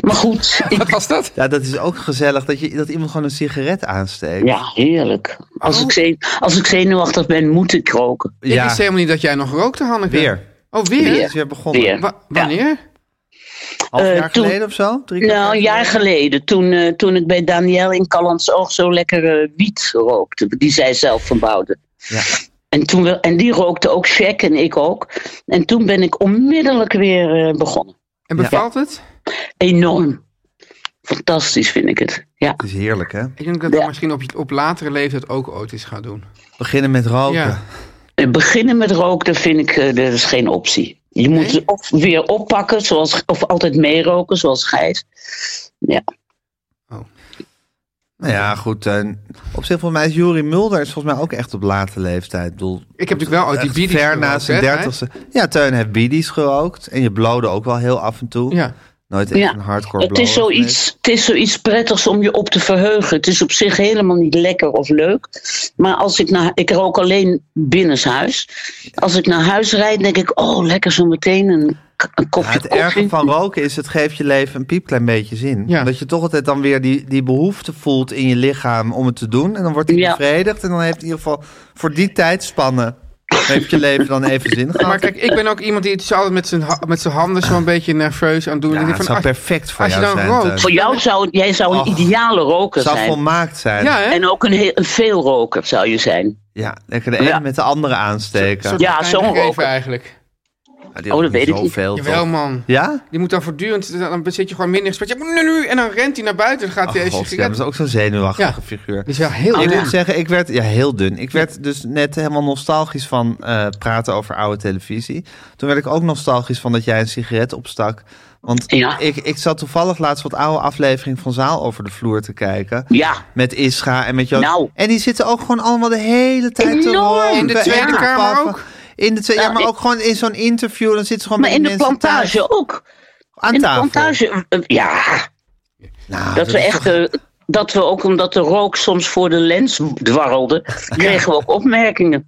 Maar goed, ik-
Wat was dat?
dat is ook gezellig dat, je, dat iemand gewoon een sigaret aansteekt.
ja, heerlijk. Als,
Oh.
ik zenu- als ik zenuwachtig ben, moet ik roken.
Ik wist helemaal niet dat jij nog rookte, Hanneke.
weer.
Oh, weer?
Het
Weer.
is weer begonnen.
Weer.
Wa- wanneer?
Half
Eh,
jaar
toen-
geleden of zo? Drie kwart
Nou, een jaar geleden, toen, eh, toen ik bij Danielle in Callantsoog zo lekker eh, wiet rookte, die zij zelf verbouwde.
Ja.
En, toen we, en die rookte ook Jack en ik ook. En toen ben ik onmiddellijk weer eh, begonnen.
En bevalt het?
Enorm. Fantastisch vind ik het. Ja.
Het is heerlijk, hè?
Ik denk dat dat
Ja.
misschien op, je- op latere leeftijd ook ooit is gaan doen.
Beginnen met roken.
Ja.
Eh, Beginnen met roken, dat vind ik eh, dat is geen optie. Je moet
Nee?
of weer oppakken, zoals, of altijd meeroken, zoals Gijs. Ja.
Nou ja, goed. eh, op zich, volgens mij is Juri Mulder is volgens mij ook echt op late leeftijd. Ik bedoel,
Ik heb natuurlijk wel ooit die
echt
biedies
ver
gerookt,
na zijn
hè, Gijs?
dertigste. Ja, Teun heeft bidies gerookt. En je blode ook wel heel af en toe.
Ja.
Nooit echt
Ja.
een hardcore
Het, is
blower
zoiets, het is zoiets prettigs om je op te verheugen. Het is op zich helemaal niet lekker of leuk. Maar als ik naar, ik rook alleen binnenshuis. Als ik naar huis rijd, denk ik, oh, lekker zo meteen een k- een
Ja,
kopje
het
koffie.
erge van roken is, het geeft je leven een piepklein beetje zin.
Ja.
Dat je toch altijd dan weer die, die behoefte voelt in je lichaam om het te doen. En dan wordt die
Ja.
bevredigd. En dan heeft in ieder geval voor die tijdspanne heeft je leven dan even zin gehad.
Maar kijk, ik ben ook iemand die het is altijd met zijn, ha- met zijn handen zo'n beetje nerveus aan het doen.
ja,
Ik denk
het zou
van, ah,
perfect voor
als je
jou
dan
zijn.
rookt-
Teun.
Voor jou zou jij zou een
Och,
ideale roker
Het zou
zijn.
volmaakt zijn.
Ja,
Ja,
hè?
En ook een, heel, een veelroker zou je zijn.
lekker de ene
Ja.
met de andere aansteken.
Soort
Ja,
kleine
zo'n
gever
roker.
eigenlijk.
Ja, die had
Oh, dat
niet
weet ik niet.
zoveel,
Jawel,
toch?
man.
Ja?
Die moet dan voortdurend, dan zit je gewoon minder in gesprek. Ja, nu, nu, en dan rent hij naar buiten. Dan gaat
Oh,
hij even
God, ja, dat is ook zo'n zenuwachtige
Dus Ja.
figuur.
Die is wel heel
Ik
Oh,
dun.
moet zeggen, ik werd ja, heel dun. Ik werd dus net helemaal nostalgisch van eh, praten over oude televisie. Toen werd ik ook nostalgisch van dat jij een sigaret opstak. Want
Ja.
ik, ik zat toevallig laatst wat oude aflevering van Zaal over de vloer te kijken.
Ja,
Met Ischa en met Joost.
Nou.
En die zitten ook gewoon allemaal de hele tijd te
Enorm.
roken
In de
en
Tweede
te
Kamer
paffen.
ook.
In de tweede, ja,
Nou,
maar
ik-
ook gewoon in zo'n interview. Dan zitten ze gewoon
maar
met
in de
mensen
plantage
thuis
ook.
aan
in de
tafel.
plantage, eh, ja.
Nou,
Dat we
is
echt.
toch-
eh, dat we ook omdat de rook soms voor de lens dwarrelde, kregen we ook opmerkingen.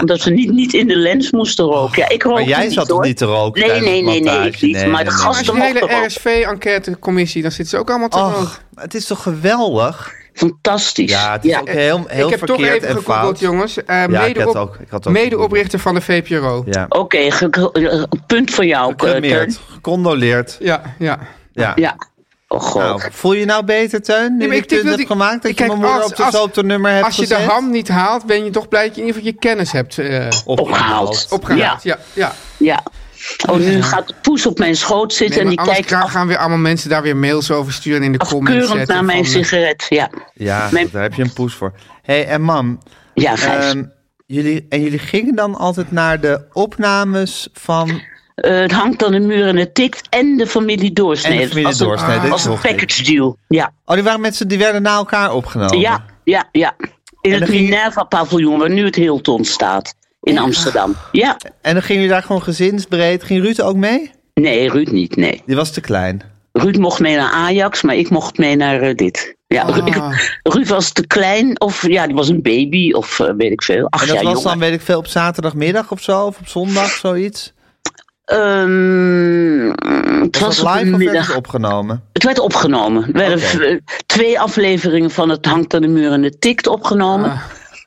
Omdat we niet, niet in de lens moesten roken. Ja, ik rook
maar jij
niet,
zat toch
hoor.
niet te roken?
Nee,
tijdens de
nee, nee, nee,
plantage?
ik niet. Maar de
dus
Maar als je
gasten-
de hele
Mochten ook.
RSV-enquêtecommissie, dan zitten ze ook allemaal te roken.
Och, het is toch geweldig?
Fantastisch.
Ja,
Ja,
het is ook heel, heel
Ik heb toch
verkeerd
even
en
gegoogeld,
fout.
jongens. Eh,
ja, ik
mede
had
op-
ook, ik had ook
Medeoprichter van de VPRO.
Ja.
Oké, ge- ge- eh, punt voor jou.
Gecremeerd,
Teun.
gecondoleerd.
Ja, ja.
Ja.
Ja. Oh god.
Nou, voel je nou beter, Teun? Nu
maar
je
ik denk
punt
dat
hebt
ik-
gemaakt dat
ik
je
kijk,
mijn moeder
als-
op de
als-
zooptonnummer hebt
Als je de
gezet?
ham niet haalt, ben je toch blij dat je in ieder geval je kennis hebt eh
Opgehaald.
Opgehaald.
opgehaald. Ja, ja.
Ja. Oh, nu gaat de poes op mijn schoot
Nee,
zitten
maar
en die
anders
kijkt
gaan-
af-
gaan weer allemaal mensen daar weer mails over sturen in de comments.
afkeurend
zetten
naar mijn
van, eh,
sigaret. Ja,
Ja,
Mijn-
daar heb je een poes voor. Hé, hey, en mam,
ja Gijs.
ehm, jullie, en jullie gingen dan altijd naar de opnames van...
Eh, het hangt aan de muur en het tikt. En de familie doorsnee.
En de familie
Als een-
doorsnee, dit
Als een
mocht ik.
package deal. Ja,
Oh, die, waren met z'n- die werden na elkaar opgenomen?
ja, ja, ja. In
Oh, dan
het
ging je-
Minerva-paviljoen, waar nu het Hilton staat. In Amsterdam. Ja.
En dan gingen jullie daar gewoon gezinsbreed. Ging Ruud ook mee?
Nee, Ruud niet, nee.
Die was te klein.
Ruud mocht mee naar Ajax, maar ik mocht mee naar eh, dit. Ja, Ru- ik-
Ah.
Ruud was te klein, of ja, die was een baby, of eh, weet ik veel. Acht
En dat
jaar
was
jonger.
dan, weet ik veel, op zaterdagmiddag of zo? Of op zondag, zoiets?
Ehm, het
Was
was
dat
op een
live of werd
middag.
het opgenomen?
Het werd opgenomen. Er werden
Oké.
v- eh, twee afleveringen van Het hangt aan de muur en het tikt opgenomen.
Ah.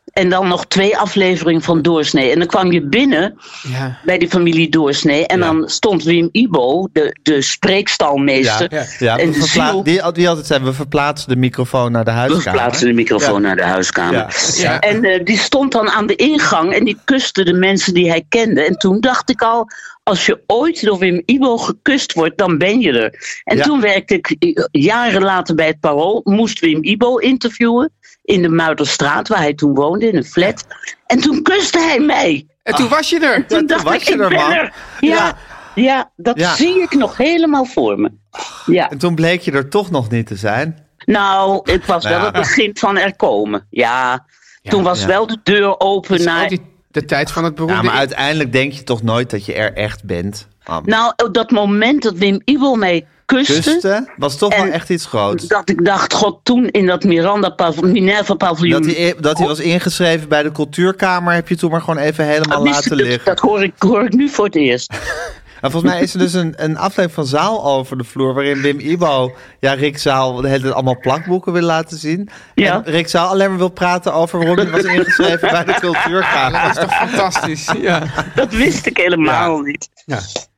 En dan nog twee afleveringen van Doorsnee. En dan kwam je binnen
Ja.
bij die familie Doorsnee. En
Ja.
dan stond Wim Ibo, de, de spreekstalmeester.
Ja, ja
en
we
de
verpla-
ziel.
die, oh, die altijd zei, we verplaatsen de microfoon naar de
We
huiskamer.
verplaatsten de microfoon naar de huiskamer.
Ja.
Ja.
En eh, die stond dan aan de ingang en die kuste de mensen die hij kende. En toen dacht ik al, als je ooit door Wim Ibo gekust wordt, dan ben je er. En
Ja.
toen werkte ik eh, jaren later bij het Parool, moest Wim Ibo interviewen in de Muiderstraat, waar hij toen woonde, in een flat. En toen kuste hij mij.
En toen was je er.
Toen dacht
was
ik,
je
ik
er,
ben
man.
er. Ja, ja dat
Ja.
zie ik nog helemaal voor me. Ja.
En toen bleek je er toch nog niet te zijn.
Nou, het was
Ja.
wel het begin van er komen. Ja, toen was
ja.
wel de deur open
Dat is
naar.
al die- de tijd van het
Ja,
beroemde...
maar uiteindelijk denk je toch nooit dat je er echt bent. Am.
Nou, op dat moment dat Wim Iwel mij kuste,
Kusten was toch wel
En-
echt iets groots.
dat ik dacht, god, toen in dat Miranda Pav Minerva paviljoen.
Dat hij, e- dat hij was ingeschreven bij de cultuurkamer, heb je toen maar gewoon even helemaal
Wist
laten
ik het?
liggen.
Dat hoor ik, hoor ik nu voor het eerst.
En volgens mij is er dus een, een aflevering van Zaal over de vloer... waarin Wim Ibo, ja, Rick Zaal, de hele tijd allemaal plakboeken wil laten zien.
Ja.
En Rick Zaal alleen maar wil praten over waarom hij was ingeschreven bij de cultuurkamer.
Dat is toch fantastisch. Ja.
Dat wist ik helemaal niet.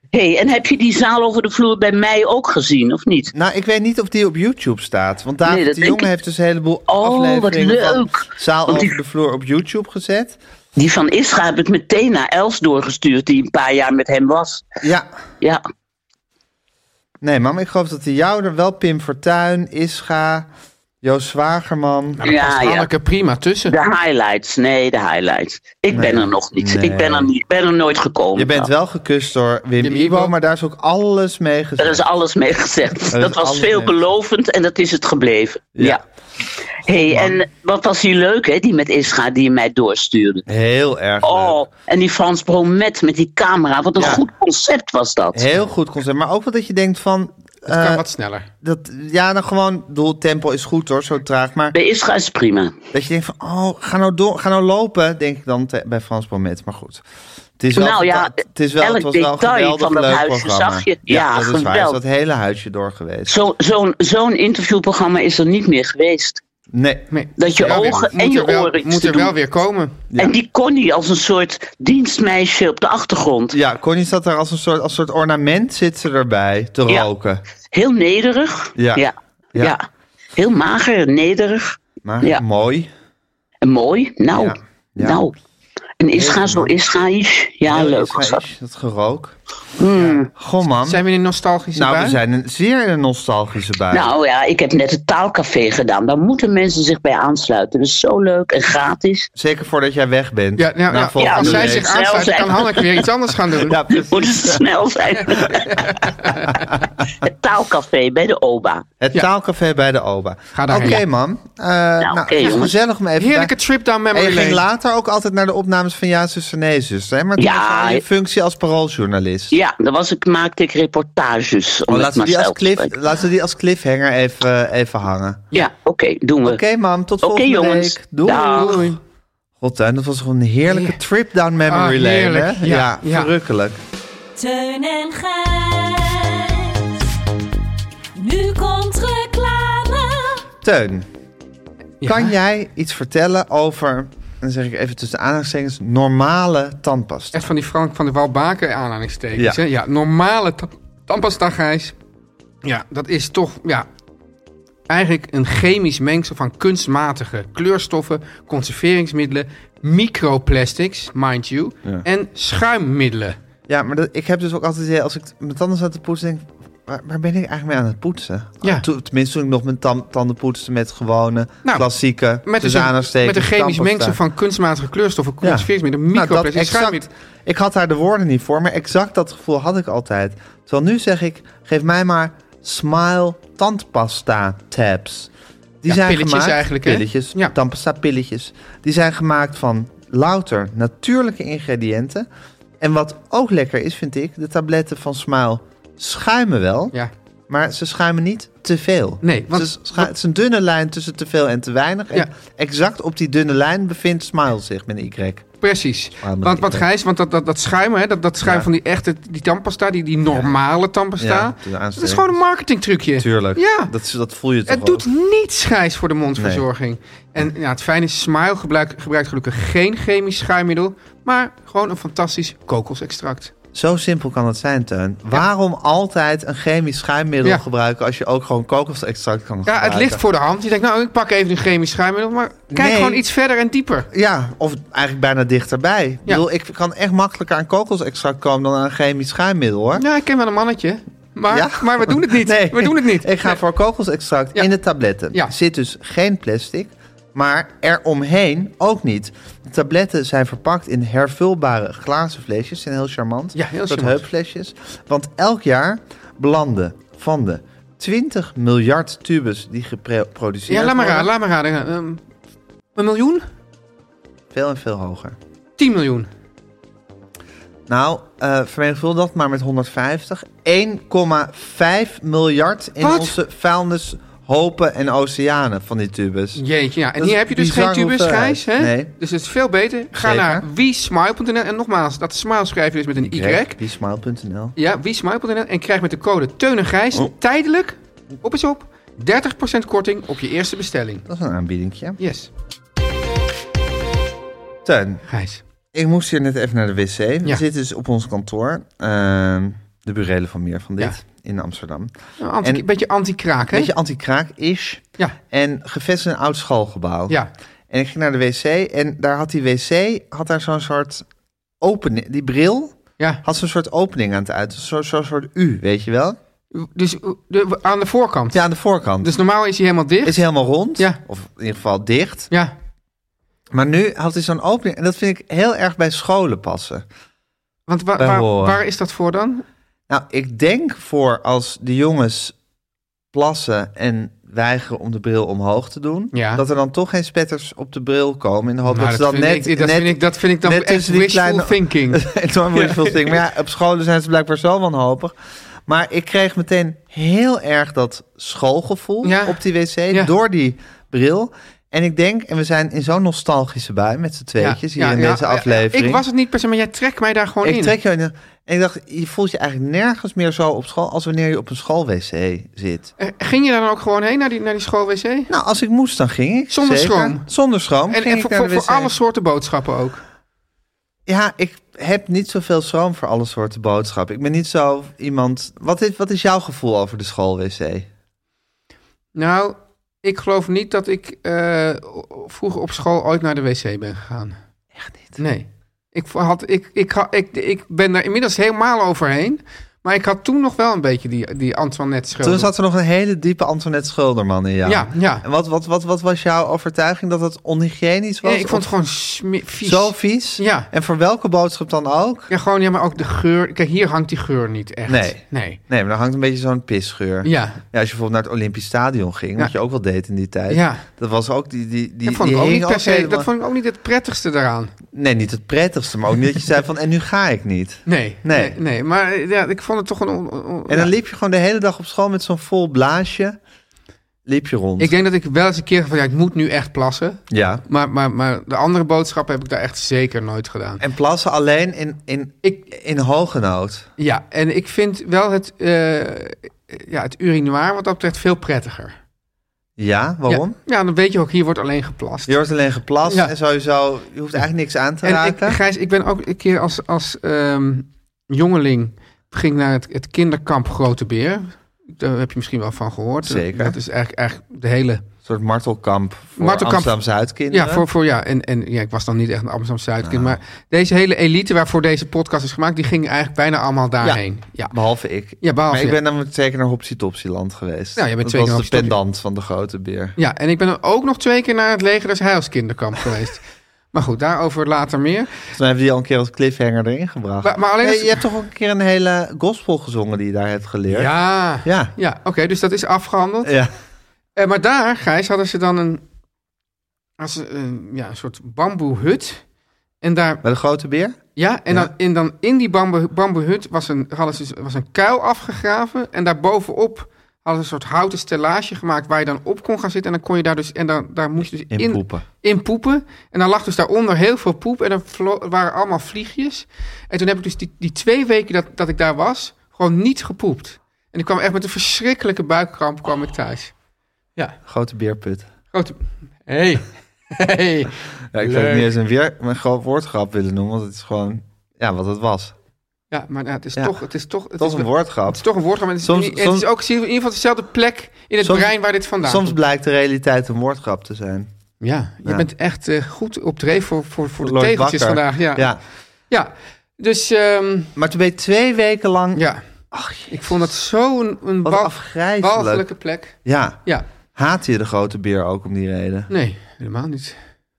hey, en heb je die zaal over de vloer bij mij ook gezien, of niet?
Nou, ik weet niet of die op YouTube staat. Want David
Nee, dat
de
denk
Jong
ik-
heeft dus een heleboel
Oh, wat
afleveringen van
leuk.
Zaal
Want die-
over de vloer op YouTube gezet.
Die van Isra heb ik meteen naar Els doorgestuurd, die een paar jaar met hem was.
Ja,
Ja,
nee mam, ik geloof dat die jou er wel Pim Fortuyn, Ischa, Joost Zwagerman...
ja, ja.
Anneke prima tussen.
De highlights, nee, de highlights. Ik ben er nog niet.
Nee.
Ik ben er, niet, ben er nooit gekomen.
Je bent wel gekust door Wim
Wim
Ibo,
Ibo.
maar daar is ook alles mee gezet.
Daar nou. is alles mee gezegd.
is
Dat
alles
was
mee
veelbelovend en dat is het gebleven. Ja. hey, en wat was die leuk, hè, die met Isra die je mij doorstuurde.
Heel erg leuk.
Oh, en die Frans Bromet met die camera. Wat een
Ja.
goed concept was dat.
Heel goed concept. Maar ook wel dat je denkt van...
Het kan
Eh,
wat sneller.
Dat, ja, dan gewoon, doel, tempo is goed hoor, zo traag. Maar
Bij Isra is prima.
dat je denkt van, oh, ga nou, door, ga nou lopen, denk ik dan te- bij Frans Bomet. Maar goed, het is wel,
Nou ja,
het is wel,
elk
het was wel een
detail
geweldig
van dat
leuk
huisje
programma.
zag je.
Ja,
Ja,
dat is waar. Is
geweldig.
dat hele huisje door geweest.
Zo- Zo'n zo'n interviewprogramma is er niet meer geweest.
Nee,
Nee,
Dat je
moet er wel
ogen
weer-
en
moet
je
er wel-
oren iets
Moet
te
er wel
doen.
weer komen.
Ja.
En die Connie als een soort dienstmeisje op de achtergrond.
ja, Connie zat daar als een soort, als een soort ornament zit ze erbij te
Ja.
roken.
Heel nederig.
Ja.
Ja.
Ja.
ja. Heel mager, nederig
Maar
Ja.
mooi.
en mooi. Nou,
Ja. Ja.
nou. En Isra
Heel
zo Israëlisch. Ja,
Heel
leuk was
Israëlisch,
dat. Hmm.
dat gerook. Ja. Goh man.
Zijn we in een nostalgische
nou,
bui?
we zijn een, zeer in een nostalgische bui.
Nou ja, ik heb net het taalcafé gedaan. Daar moeten mensen zich bij aansluiten. Dat is zo leuk en gratis.
Zeker voordat jij weg bent.
Ja, nou,
Na
ja,
volgende
als zij
week.
zich
Snel
aansluit,
zijn.
kan Hanneke weer iets anders gaan doen.
Ja, precies.
Moeten ze snel zijn. het taalcafé bij de OBA.
Het
Ja.
taalcafé bij de OBA.
Ga daarheen.
Oké, man. Eh, nou,
oké,
het is
jongens.
gezellig om even...
Heerlijke
daar-
trip down
En je
memory
ging
lane.
later ook altijd naar de opnames van Ja, zuster, nee, zuster. Hè? Maar toen
Ja,
was al je
ja.
functie als parooljournalist.
Ja, daar was ik, maakte ik reportages.
Oh,
Om het
laten, we
maar
die als
zelf te
cliff,
spreken.
laten we die als cliffhanger even, eh, even hangen.
Ja, oké, doen we.
Oké, mam. Tot
Oké,
volgende
jongens.
week. Doei.
Dag.
Doei. God, Teun, dat was gewoon een heerlijke trip down memory
Ah,
lane.
heerlijk.
Hè?
Ja,
Ja,
ja.
verrukkelijk.
Teun en Gijs. Nu komt reclame.
Teun,
Ja.
kan jij iets vertellen over, en dan zeg ik even tussen aanhalingstekens, normale tandpasta?
Echt van die Frank van de Walbaken aanhalingstekens.
Ja.
Ja, ja normale ta- tandpasta, Gijs. Ja, dat is toch ja, eigenlijk een chemisch mengsel van kunstmatige kleurstoffen, conserveringsmiddelen, microplastics, mind you,
Ja.
en schuimmiddelen.
Ja, maar dat, ik heb dus ook altijd het idee, als ik t- mijn tanden zat te poetsen, denk ik, waar, waar ben ik eigenlijk mee aan het poetsen?
Ja.
Ah, toen- tenminste, toen ik nog mijn tan- tanden poetste met gewone,
Nou,
klassieke,
Met, dus
tussen
een,
aanhalingstekens
met een chemisch
tandpasta.
mengsel van kunstmatige kleurstoffen,
Ja.
conserveringsmiddelen,
Nou, dat
microplastics,
exact,
schuimmiddelen.
ik had daar de woorden niet voor, maar exact dat gevoel had ik altijd. Terwijl nu zeg ik, geef mij maar Smile tandpasta tabs. Die
Ja,
zijn
pilletjes
gemaakt,
eigenlijk, hè?
pilletjes,
Ja.
tandpasta pilletjes. Die zijn gemaakt van louter natuurlijke ingrediënten. En wat ook lekker is, vind ik, de tabletten van Smile schuimen wel,
Ja.
maar ze schuimen niet te veel.
Nee, want-
Ze schu- het is een dunne lijn tussen te veel en te weinig.
Ja.
En exact op die dunne lijn bevindt Smile zich met een Y.
Precies.
Ah, maar
Want
ik
wat
weet-
Gijs, want dat, dat, dat schuim, hè, dat, dat schuim
Ja.
van die echte die tandpasta, die, die normale tandpasta.
Ja, tussen
dat is
aanstekens.
gewoon een marketingtrucje.
Tuurlijk.
Ja.
Dat, is- dat voel je toch
Het doet niets Gijs voor de mondverzorging. En ja, het fijne is, Smile gebruikt, gebruikt gelukkig geen chemisch schuimmiddel, maar gewoon een fantastisch kokosextract.
Zo simpel kan het zijn, Teun. Waarom altijd een chemisch schuimmiddel
Ja.
gebruiken... als je ook gewoon kokosextract kan
Ja,
gebruiken?
het ligt voor de hand. Je denkt, nou, ik pak even een chemisch schuimmiddel, maar kijk
Nee.
gewoon iets verder en dieper.
Ja, of eigenlijk bijna dichterbij. Ik, bedoel, ik kan echt makkelijker aan kokosextract komen... dan aan een chemisch schuimmiddel, hoor.
Ja, Nou, ik ken wel een mannetje, maar,
Ja?
maar we doen het niet.
Nee.
We doen het niet.
Ik ga voor kokosextract
Ja.
in de tabletten.
Ja.
Er zit dus geen plastic, maar eromheen ook niet. De tabletten zijn verpakt in hervulbare glazen flesjes. Zijn heel charmant.
Ja, heel
Een soort
charmant.
heupflesjes. Want elk jaar belanden van de 20 miljard tubes die geproduceerd
Ja,
worden...
laat maar raden, laat maar raden. Ehm, een miljoen?
Veel en veel hoger.
10 miljoen.
Nou, eh vermenigvuldig dat maar met 150. 1,5 miljard in
Wat?
onze vuilnis, hopen en oceanen van die tubes.
Jeetje, ja. En
Dat is
hier heb je dus
bizar
geen tubus,
hoeveelheid.
Gijs. Hè?
Nee.
Dus het is veel beter. Ga
Zeker.
naar wiesmile.nl. En nogmaals, dat smile schrijf je dus met een Y.
Wiesmile.nl.
Ja, wiesmile.nl. En krijg met de code Teun en Gijs
Oh.
tijdelijk, op eens op, 30% korting op je eerste bestelling.
Dat is een aanbiedingje.
Yes,
Teun,
Gijs.
ik moest hier net even naar de wc. We
Ja.
zitten dus op ons kantoor. ehm, de burelen van meer van dit. In Amsterdam.
Een Nou, anti-
En-
beetje anti-kraak, hè?
Beetje anti-kraak-ish.
Ja,
En gevestigd in een oud schoolgebouw.
ja.
En ik ging naar de wc. En daar had die wc, had daar zo'n soort opening. Die bril
ja.
had zo'n soort opening aan het uit. Zo'n zo'n soort U, weet je wel?
Dus uh, de, aan de voorkant.
Ja, aan de voorkant.
Dus normaal is hij helemaal dicht.
is helemaal rond.
Ja.
Of in ieder geval dicht.
Ja,
Maar nu had hij zo'n opening. En dat vind ik heel erg bij scholen passen.
want wa-
Bij
waar,
horen.
waar is dat voor dan?
Nou, ik denk voor als de jongens plassen en weigeren om de bril omhoog te doen,
Ja.
dat er dan toch geen spetters op de bril komen in de hoop
Nou,
dat ze dan
vind
net,
ik, dat,
net
vind ik, dat vind ik dan
net
echt
tussen die
wishful
kleine-
thinking.
enorm wishful thinking. Maar ja, op scholen zijn ze blijkbaar zo wanhopig. Maar ik kreeg meteen heel erg dat schoolgevoel
Ja.
op die wc
Ja.
door die bril. En ik denk, en we zijn in zo'n nostalgische bui met z'n tweetjes hier in deze aflevering.
Ik was het niet per se, maar jij trekt mij daar gewoon
Ik
in.
trek je in. En ik dacht, je voelt je eigenlijk nergens meer zo op school als wanneer je op een schoolwc zit.
Eh, Ging je daar dan ook gewoon heen, naar die, naar die schoolwc? En,
Nou, als ik moest, dan ging ik.
Zonder
zeker.
schroom.
Zonder schroom. ging
en
ik
voor,
naar de
voor, voor
wc.
alle soorten boodschappen ook.
Ja, ik heb niet zoveel schroom voor alle soorten boodschappen. Ik ben niet zo iemand... Wat is, wat is jouw gevoel over de schoolwc?
Nou, ik geloof niet dat ik eh, vroeger op school ooit naar de wc ben gegaan. Echt niet? Nee. Ik, had, ik, ik, had, ik, ik ben daar inmiddels helemaal overheen. Maar ik had toen nog wel een beetje die, die Antoinette schuld.
Toen zat er nog een hele diepe Antoinette Schulderman in jou.
Ja, ja.
En wat, wat, wat, wat was jouw overtuiging? Dat het onhygiënisch was?
Nee, ik vond
Of
het gewoon sme- vies.
Zo vies?
Ja.
En voor welke boodschap dan ook?
Ja, gewoon, ja, maar ook de geur. Kijk, hier hangt die geur niet echt.
Nee.
Nee.
Nee, maar dan hangt een beetje zo'n pisgeur.
Ja.
Ja, als je bijvoorbeeld naar het Olympisch Stadion ging, wat je
Ja.
ook wel deed in die tijd.
Ja.
Dat was ook die... die, Eh, die
Dat vond, ik
die
ook
hing
niet per se,
helemaal-
dat vond ik ook niet het prettigste daaraan.
Nee, niet het prettigste, maar ook niet dat je zei van... en nu ga ik niet.
Nee.
Nee.
Nee, nee, maar eh, ja, ik vond het toch een... on- on- on-
En
ja.
dan liep je gewoon de hele dag op school met zo'n vol blaasje. Liep je rond.
Ik denk dat ik wel eens een keer van, ja, ik moet nu echt plassen.
Ja.
Maar, maar, maar de andere boodschappen heb ik daar echt zeker nooit gedaan.
En plassen alleen in, in,
Ik-
in hoge nood.
Ja, en ik vind wel het, eh, ja, het urinoir wat dat betreft veel prettiger.
Ja, waarom?
Ja, ja, dan weet je ook, hier wordt alleen geplast.
Je wordt alleen geplast
Ja.
en sowieso, je hoeft eigenlijk niks aan te
en ik,
raken.
Gijs, ik ben ook een keer als, als ehm, jongeling ging naar het, het kinderkamp Grote Beer. Daar heb je misschien wel van gehoord.
Zeker.
Dat is eigenlijk, eigenlijk de hele...
Een soort martelkamp voor
Martelkamp.
Amsterdam-Zuidkinderen.
Ja, voor, voor, ja en, en ja, ik was dan niet echt een Amsterdam-Zuidkind. Maar deze hele elite waarvoor deze podcast is gemaakt... die ging eigenlijk bijna allemaal daarheen. Ja.
Behalve ik.
Ja, behalve
maar ik
je.
ben namelijk twee keer naar Hopsi Topsyland geweest.
Nou, jij bent
dat
twee keer
was de
naar Hopsi Topsi-
pendant van de grote beer.
Ja, en ik ben ook nog twee keer naar het leger des Heils kinderkamp geweest. Maar goed, daarover later meer.
Dus dan hebben die al een keer als cliffhanger erin gebracht.
Maar- maar alleen
Nee,
als-
Je hebt toch ook een keer een hele gospel gezongen die je daar hebt geleerd?
Ja, ja.
Ja.
oké, dus dat is afgehandeld.
Ja.
Eh, maar daar, Gijs, hadden ze dan een, als een, ja, een soort bamboehut. En daar,
Bij de grote beer?
ja, en,
Ja.
Dan, en dan in die bamboe, bamboehut was een, hadden ze, was een kuil afgegraven. En daarbovenop hadden ze een soort houten stellage gemaakt waar je dan op kon gaan zitten. En dan kon je daar dus, en dan, daar moest je dus
In,
in,
poepen.
in poepen. En dan lag dus daaronder heel veel poep. En er vlo- waren allemaal vliegjes. En toen heb ik dus die, die twee weken dat, dat ik daar was, gewoon niet gepoept. En ik kwam echt met een verschrikkelijke buikkramp kwam ik thuis.
Grote beerput.
Grote... Hey. Hey.
Ja, ik zou het niet eens een, weer, een groot woordgrap willen noemen, want het is gewoon ja, wat het was.
Ja, maar ja, het is
Ja.
toch... Het is toch, het
Het was
is
een
wel-
woordgrap.
Het is toch een woord, maar het is,
Soms-
en het
soms-
is ook in ieder geval dezelfde plek in het
Soms-
brein waar dit vandaan
Soms
komt.
blijkt de realiteit een woordgrap te zijn.
Ja, je
Ja.
bent echt eh, goed op dreef voor, voor, voor de
Lloyd
tegeltjes
Bakker.
vandaag. Ja, ja.
Ja,
dus ehm,
maar toen ben je twee weken lang...
ja,
Ach, jezus,
ik vond dat zo'n een
wat
bal-
afgrijzelijk.
walgelijke plek.
Ja,
Ja,
haat je de grote beer ook om die reden?
nee, helemaal niet.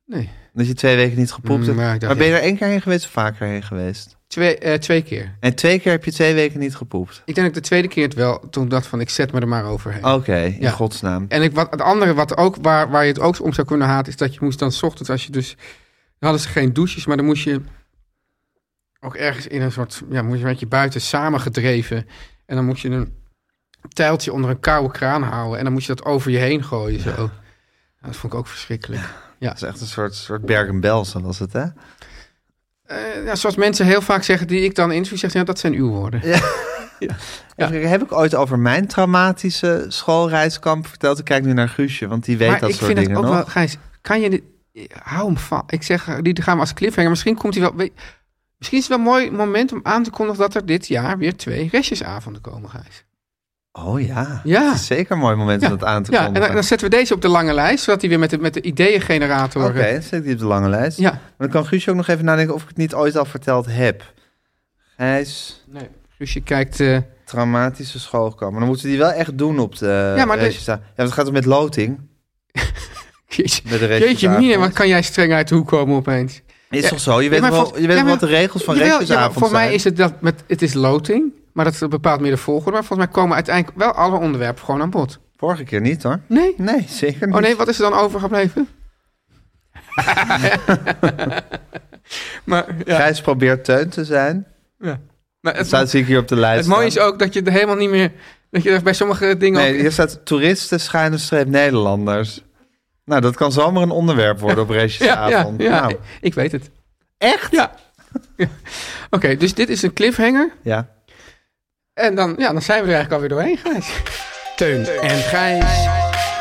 Nee.
Dat je twee weken niet gepoept
Mm,
hebt.
maar ik dacht,
Maar ben je
ja.
er één keer heen geweest of vaker heen geweest?
Twee, eh, twee keer.
En twee keer heb je twee weken niet gepoept.
Ik denk dat ik de tweede keer het wel toen dacht van ik zet me er maar overheen.
Oké, in
Ja.
godsnaam.
En ik, wat, het andere wat ook, waar, waar je het ook om zou kunnen haten, is dat je moest dan 's ochtends, als je dus, dan hadden ze geen douches, maar dan moest je ook ergens in een soort, ja, moest je met je buiten samengedreven. En dan moest je een tijltje onder een koude kraan houden en dan moest je dat over je heen gooien. Zo. Nou, dat vond ik ook verschrikkelijk.
Dat is echt een soort, soort Bergen-Belsen was het, hè?
Eh, ja, zoals mensen heel vaak zeggen, die ik dan interview, zeg ja, dat zijn uw woorden.
Even kijken, Heb ik ooit over mijn traumatische schoolreiskamp verteld? Ik kijk nu naar Guusje, want die weet
maar
dat
ik
soort
vind het
dingen
ook
nog.
wel, Gijs, kan je dit, hou hem van. Ik zeg, eh, die gaan we als cliffhanger. Misschien komt hij wel. weet- misschien is het wel een mooi moment om aan te kondigen dat er dit jaar weer twee restjesavonden komen, Gijs.
Oh ja,
Ja.
dat is zeker een mooi moment om
Ja,
dat aan te
Ja, en
kondigen.
dan, dan zetten we deze op de lange lijst, zodat hij weer met de, met de ideeëngenerator.
Oké,
eh,
dan zet ik die op de lange lijst.
Ja.
Maar dan kan Guusje ook nog even nadenken of ik het niet ooit al verteld heb. Gijs,
Nee. Dus je kijkt. eh,
traumatische schoolkamp. Maar dan moeten we die wel echt doen op de
Ja, maar de-
restjesavond. Ja, want het gaat om met loting.
jeetje,
Bij de
jeetje
restjesavond.
mine, wat kan jij streng uit de hoek komen opeens?
Is toch zo? Je weet,
maar
wel,
vol-
je weet
ja,
wel
maar-
wat de regels van
Jawel,
restjesavond
ja, voor mij
zijn.
is het dat met, het is loting, maar dat bepaalt meer de volgorde. Maar volgens mij komen uiteindelijk wel alle onderwerpen gewoon aan bod.
Vorige keer niet hoor.
Nee?
Nee, zeker niet.
Oh nee, wat is er dan overgebleven? maar ja.
Gijs probeert teun te zijn.
Ja. Maar
Dat
het,
staat zie ik hier op de lijst.
het mooie is
staan.
ook dat je er helemaal niet meer... Dat je er bij sommige dingen...
Nee,
ook-
hier staat toeristen schuine streep Nederlanders. Nou, dat kan zomaar een onderwerp worden op
ja, ja,
raceavond.
ja,
Nou,
ik- ik weet het.
echt?
Ja. Ja. Oké, dus dit is een cliffhanger.
Ja.
En dan, ja, dan zijn we er eigenlijk alweer doorheen, Gijs.
Teun en Gijs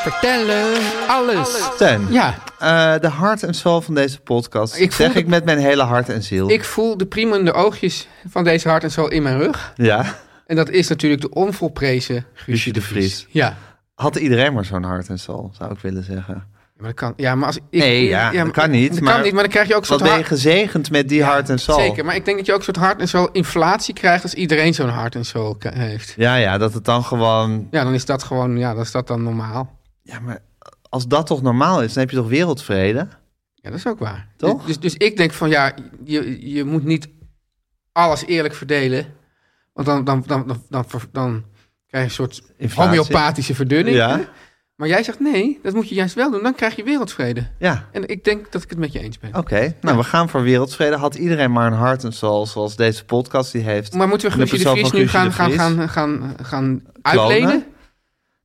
vertellen alles.
Teun,
Ja,
eh, de hart en ziel van deze podcast
Ik voel
zeg
de-
ik met mijn hele hart en ziel.
ik voel de priemende oogjes van deze hart en zo in mijn rug.
Ja,
En dat is natuurlijk de onvolprezen
Guusje de Vries.
Ja,
Had iedereen maar zo'n hart en ziel, zou ik willen zeggen.
maar dat kan. Ja, maar als ik,
Nee, ja, dat
maar-
kan niet,
Dat
maar-
kan niet, maar dan krijg je ook zo'n
Wat ben je gezegend met die hart en ziel?
Zeker, maar ik denk dat je ook een soort hart en zo inflatie krijgt als iedereen zo'n hart en zo heeft.
Ja, ja, dat het dan gewoon...
Ja, dan is dat gewoon, ja, dan is dat dan normaal.
Ja, maar als dat toch normaal is, dan heb je toch wereldvrede?
Ja, dat is ook waar.
Toch?
Dus, dus ik denk van ja, je, je moet niet alles eerlijk verdelen. Want dan, dan, dan, dan, dan, ver- dan krijg je een soort
Inflatie.
homeopathische verdunning.
Ja,
Maar jij zegt nee, dat moet je juist wel doen. Dan krijg je wereldvrede.
ja.
En ik denk dat ik het met je eens ben.
Oké, nou we gaan voor wereldvrede. Had iedereen maar een hart en ziel, zoals deze podcast die heeft.
Maar moeten we
De
Guusje de
persoon
Vries
van
nu
Guusje
gaan,
de
gaan,
Vries.
gaan, gaan, gaan uitlenen?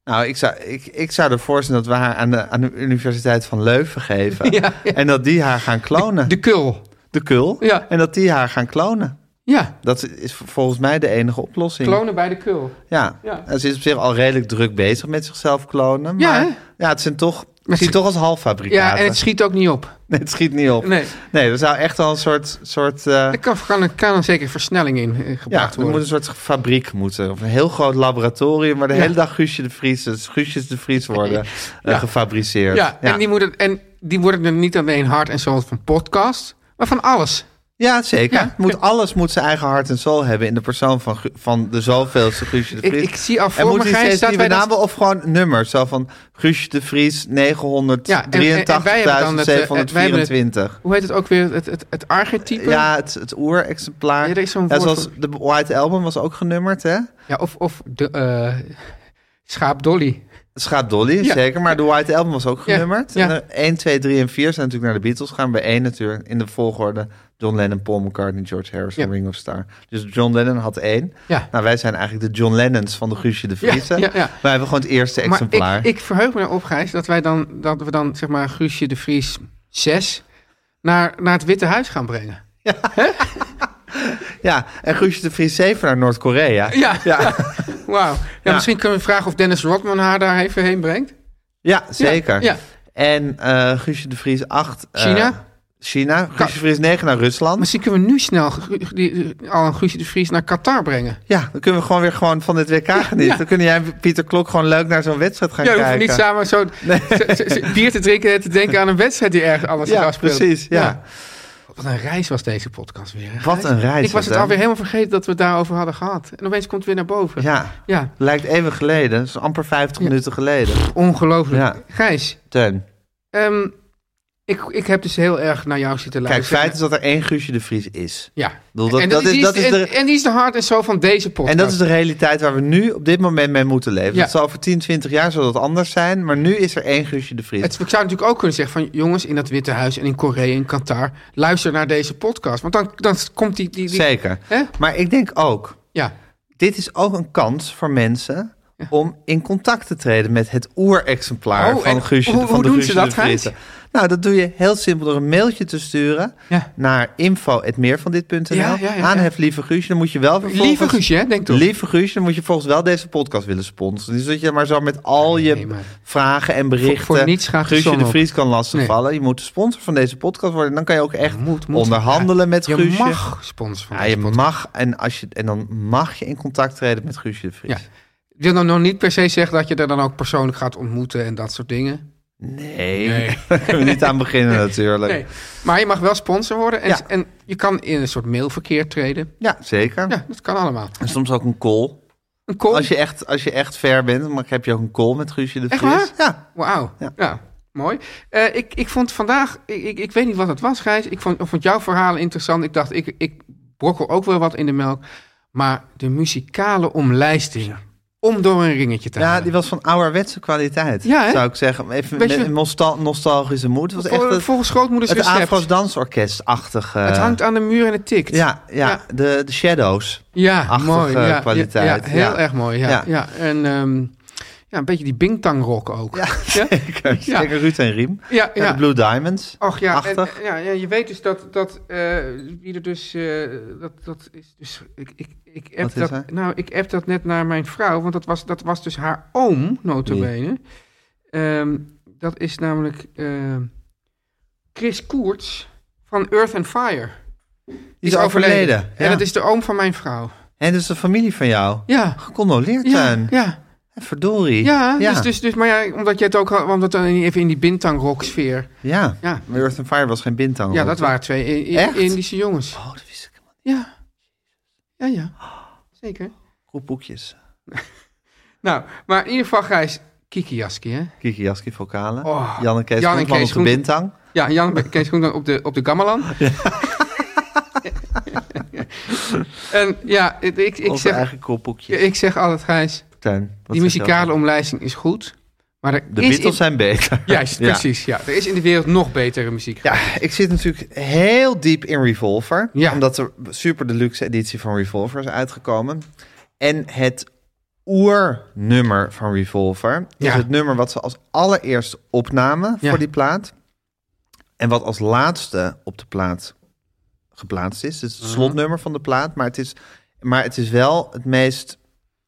Nou, ik zou, ik, ik zou ervoor zijn dat we haar aan de, aan de Universiteit van Leuven geven.
Ja, ja.
En dat die haar gaan klonen. De,
De kul.
kul.
Ja.
En dat die haar gaan klonen.
Ja,
Dat is volgens mij de enige oplossing.
klonen bij de kul.
Ja.
Ja.
En ze is op zich al redelijk druk bezig met zichzelf klonen.
Ja,
Maar
hè?
ja, het zijn toch... Het
het-
ziet toch als halffabrikaten.
Ja, en het schiet ook niet op.
Nee, het schiet niet op.
Nee,
Nee, er zou echt al een soort... soort eh,
er kan, kan, er- kan er zeker versnelling in eh,
ja,
gebracht
er moet
worden.
een soort fabriek moeten. Of een heel groot laboratorium waar de
Ja.
hele dag Guusje de Vries... dus Guusjes de Vries worden eh,
Ja.
gefabriceerd.
ja, En, die moet het, en die worden er niet alleen hard en zo van podcast, maar van alles.
Ja, zeker.
Ja.
Moet, alles moet zijn eigen hart en ziel hebben in de persoon van, Gu- van de zoveelste Guusje de
Ik,
Vries.
ik zie al
en
voor me
moet hij
Gijs
steeds
dat wij
nieuwe
dat...
namen of gewoon nummers? Zo van Guusje de Vries 983.724.
Ja, en- en- en wij hebben dan het, eh, wij hebben Hoe heet het ook weer? Het, het, het archetype?
Ja, het, het oerexemplaar.
Ja, er is zo'n
ja,
woord
zoals
voor.
de White Album was ook genummerd, hè?
Ja, of, of de, eh, schaap Dolly.
Schaap Dolly,
Ja.
zeker. Maar de White Album was ook
Ja,
genummerd.
ja.
En eh, er 1, 2, 3 en 4 zijn natuurlijk naar de Beatles gaan. Bij 1 natuurlijk in de volgorde John Lennon, Paul McCartney, George Harrison,
Ja.
Ring of Star. Dus John Lennon had 1.
Ja.
Nou, wij zijn eigenlijk de John Lennons van de Guusje de
Ja,
Vriese.
ja, ja.
Wij hebben gewoon het eerste exemplaar.
Maar ik, ik verheug me erop, Gijs, dat, wij dan, dat we dan, zeg maar, Guusje de Vries 6 naar, naar het Witte Huis gaan brengen.
Ja, en Guusje de Vries 7 naar Noord-Korea.
Ja,
Ja.
wauw. Ja,
Ja.
Misschien kunnen we vragen of Dennis Rodman haar daar even heen brengt.
Ja, zeker.
Ja,
En eh Guusje de Vries 8. eh,
China?
China. Guusje de Vries 9 naar Rusland.
Misschien kunnen we nu snel Gu- die- al een Guusje de Vries naar Qatar brengen.
Ja, dan kunnen we gewoon weer gewoon van dit WK genieten. Dan kunnen jij en Pieter Klok gewoon leuk naar zo'n wedstrijd gaan
Ja, we
kijken.
hoeven niet samen zo zo- zo- zo- bier te drinken en te denken aan een wedstrijd die ergens anders zich
Ja,
afspeelt.
precies. Ja.
Wat een reis was deze podcast weer. hè, Gijs?
Wat een reis.
Ik was
is
het
hè?
alweer helemaal vergeten dat we het daarover hadden gehad. En opeens komt het weer naar boven.
Ja,
ja.
lijkt even geleden. Dat is amper 50
Ja.
minuten geleden.
Ongelooflijk.
Ja.
Gijs,
Teun.
ehm, ik, ik heb dus heel erg naar jou zitten
Kijk,
luisteren.
feit is dat er één Guusje de Vries is. Ik
Ja.
bedoel, dat,
en,
dat
die
is, dat is
en,
de,
en die is de hart en zo van deze podcast.
en dat is de realiteit waar we nu op dit moment mee moeten leven.
Ja.
Dat zal over 10, 20 jaar zal dat anders zijn. Maar nu is er één Guusje de Vries.
Het- ik zou natuurlijk ook kunnen zeggen van... jongens, in dat Witte Huis en in Korea en Qatar... luister naar deze podcast. Want dan, dan komt die... die, die-
Zeker.
Hè?
Maar ik denk ook,
Ja.
dit is ook een kans voor mensen om in contact te treden met het oerexemplaar
Oh,
van
en
Guusje.
hoe-
van
hoe
de
doen
Guusje
ze dat,
de Vriese.
Gijs?
Nou, dat doe je heel simpel door een mailtje te sturen
Ja.
naar info@meervandit.nl.
Ja, ja, ja,
Aanhef lieve Guusje, dan moet je wel vervolgens.
Lieve Guusje, hè? Denk toch.
Lieve Guusje, dan moet je volgens wel deze podcast willen sponsoren. Dus dat je maar zo met al je
nee, maar-
vragen en berichten...
Voor- voor niets gaat de
Guusje
som
de
op.
Vries kan lastigvallen. Je moet de sponsor van deze podcast worden. En dan kan je ook echt
Moet- moet-
onderhandelen met
je
Guusje.
mag sponsor van
Ja,
deze
je mag en, als je, en dan mag je in contact treden met Guusje de Vries.
Ja. podcast. Ik wil dan nog niet per se zeggen dat je er dan ook persoonlijk gaat ontmoeten... en dat soort dingen.
Nee, daar kunnen we niet aan beginnen natuurlijk.
Nee. Maar je mag wel sponsor worden. En,
Ja.
en je kan in een soort mailverkeer treden.
Ja, zeker.
Ja, dat kan allemaal.
En soms ook een call.
Een call.
Als, je echt, als je echt ver bent, dan heb je ook een call met Guusje de
Echt
Vries.
waar?
Ja.
Wauw. Ja.
Ja.
mooi. Eh, ik, ik vond vandaag, ik, ik, ik weet niet wat het was, Gijs. Ik vond, ik vond jouw verhalen interessant. Ik dacht, ik, ik brokkel ook wel wat in de melk. Maar de muzikale omlijsting om door een ringetje te
Ja,
halen.
die was van ouderwetse kwaliteit,
Ja, hè?
zou ik zeggen. Even
Weet je-
met een nostal- nostalgische moed. Het was echt
Vol-
het,
volgens grootmoeders
het
recept.
Afro's dansorkest-achtig. eh,
het hangt aan de muur en het tikt.
Ja, ja,
Ja.
De, de shadows.
ja
achtige
mooi. Ja, ja,
kwaliteit,
Ja, heel
ja.
erg mooi. Ja,
Ja.
ja. en ehm, ja, een beetje die bingtangrok ook. Ja, ja,
Kijk,
Ja.
Ruud en Riem.
ja.
Ja. de Blue Diamonds.
Och ja, en, eh,
Achtig.
ja, ja, je weet dus dat, dat eh, wie er dus, eh, dat, dat is dus, ik, ik, ik
Wat
app
is hij?
dat, nou, ik app dat net naar mijn vrouw, want dat was, dat was dus haar oom, nota
Wie?
bene. Ehm, dat is namelijk ehm, Chris Koerts van Earth and Fire.
Die is overleden. Ja.
En dat is de oom van mijn vrouw.
En dus de familie van jou.
Ja,
Gecondoleerd
ja,
zijn.
ja.
Verdorie.
Ja,
ja.
Dus, dus, dus, maar ja, omdat je het ook had, omdat dan even in die bintangrok sfeer.
ja.
Ja.
Maar Earth and Fire was geen bintang.
Ja, dat waren twee I- I-
Echt?
Indische jongens.
Oh, dat wist ik. helemaal niet.
Ja. Ja, ja. Zeker.
Goed boekjes.
Nou, maar in ieder geval, Gijs, Kiki Jaski, hè?
Kiki Jaski vocalen.
Oh.
Jan en Kees
Jan en
Groenteman
Kees
op de
Groente-
bintang.
Ja, en Jan Kees Groenland op de, op de Gammelan. en ja, ik, ik, ik,
Onze
zeg,
eigen koolboekje.
ik zeg altijd, Gijs,
Teun, wat
die
zeg je
muzikale
ook?
omlijsting is goed. Maar er
De
is
Beatles
in-
zijn beter.
Juist,
Ja.
precies. Ja. Er is in de wereld nog betere muziek.
Ja, ik zit natuurlijk heel diep in Revolver.
Ja.
Omdat er super deluxe editie van Revolver is uitgekomen. En het oernummer van Revolver is
Ja.
het nummer wat ze als allereerst opnamen
Ja.
voor die plaat. En wat als laatste op de plaat geplaatst is. Het is het
Mhm.
slotnummer van de plaat, maar het is, maar het is wel het meest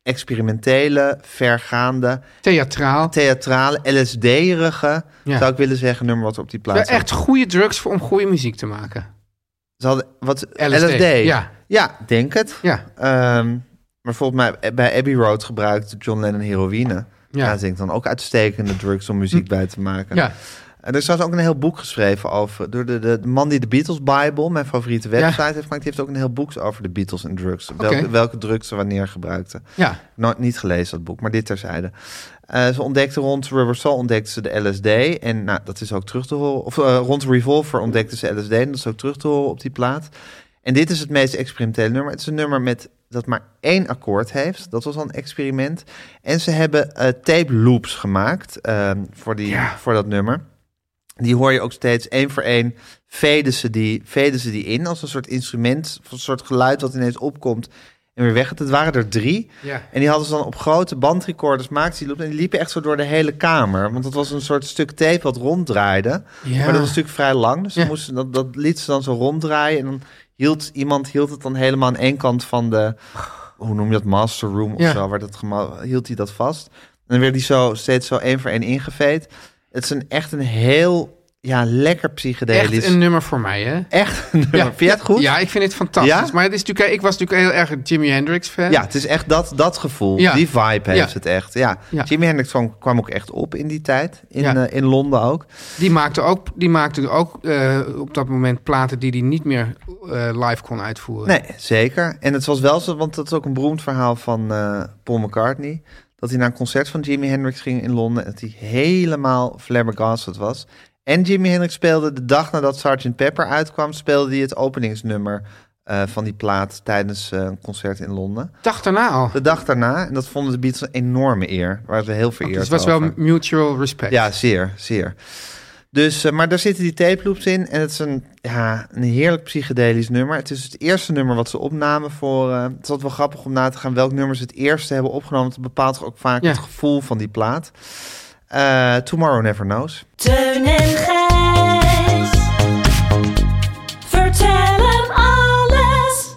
experimentele, vergaande,
Theatraal.
theatrale, LSD-erige,
Ja.
zou ik willen zeggen, nummer wat er op die plaat
Wel
staat.
echt goede drugs voor, om goede muziek te maken.
Ze hadden wat LSD.
LSD, ja.
Ja, denk het.
Ja.
Ehm, maar volgens mij eh, bij Abbey Road gebruikt John Lennon heroïne. Ja.
Ja. Hm.
dat denk ik dan ook uitstekende drugs om muziek bij te maken.
Ja.
En er is trouwens ook een heel boek geschreven over door de, de, de man die de Beatles Bible, mijn favoriete website, heeft gemaakt. Die heeft ook een heel boek over de Beatles en drugs. Welke, welke drugs ze wanneer gebruikten.
Ja.
Nooit niet gelezen dat boek, maar dit terzijde. Eh, ze ontdekte rond Rubber Soul ontdekte ze de LSD. En nou, dat is ook terug te horen. Of eh, rond Revolver ontdekte ze LSD. En dat is ook terug te horen op die plaat. En dit is het meest experimentele nummer. Het is een nummer met, dat maar één akkoord heeft. Dat was al een experiment. En ze hebben eh, tape loops gemaakt eh, voor, die, voor dat nummer. Die hoor je ook steeds één voor één. Veden ze, die, veden ze die in als een soort instrument. Of een soort geluid wat ineens opkomt en weer weg. Het waren er drie.
Ja.
En die hadden ze dan op grote bandrecorders maakten ze die loops. En die liepen echt zo door de hele kamer. Want dat was een soort stuk tape wat ronddraaide.
Ja.
Maar dat was natuurlijk vrij lang. Dus ze
Ja.
moesten, dat, dat liet ze dan zo ronddraaien. En dan hield iemand hield het dan helemaal aan één kant van de... Hoe noem je dat? Master room of
Ja.
zo. Waar dat gema- hield hij dat vast. En dan werd die zo steeds zo één voor één ingeveed. Het is een, echt een heel... Ja, lekker psychedelisch.
Echt een nummer voor mij, hè?
Echt een nummer. Vind je het goed?
Ja, ik vind het fantastisch.
Ja?
Maar het is natuurlijk, ik was natuurlijk heel erg een Jimi Hendrix fan.
Ja, het is echt dat, dat gevoel.
Ja.
Die vibe heeft
Ja.
het echt. Ja.
Ja.
Jimi Hendrix kwam, kwam ook echt op in die tijd. In,
Ja.
eh, in Londen ook.
Die maakte ook, die maakte ook eh, op dat moment platen die hij niet meer eh, live kon uitvoeren.
Nee, zeker. En het was wel zo, want dat is ook een beroemd verhaal van eh, Paul McCartney. Dat hij naar een concert van Jimi Hendrix ging in Londen. En dat hij helemaal flabbergasted was. En Jimi Hendrix speelde de dag nadat Sgt. Pepper uitkwam... speelde hij het openingsnummer eh, van die plaat tijdens eh, een concert in Londen.
Dag daarna al.
De dag daarna, en dat vonden de Beatles een enorme eer. Waar ze heel vereerd
Dus het was
over.
wel mutual respect.
Ja, zeer, zeer. Dus, eh, maar daar zitten die tape loops in. En het is een, ja, een heerlijk psychedelisch nummer. Het is het eerste nummer wat ze opnamen voor... eh, het is altijd wel grappig om na te gaan welk nummer ze het eerste hebben opgenomen. Want het bepaalt toch ook vaak
Ja.
het gevoel van die plaat. Eh, Tomorrow Never Knows.
Teun en Gijs. Vertel hem alles.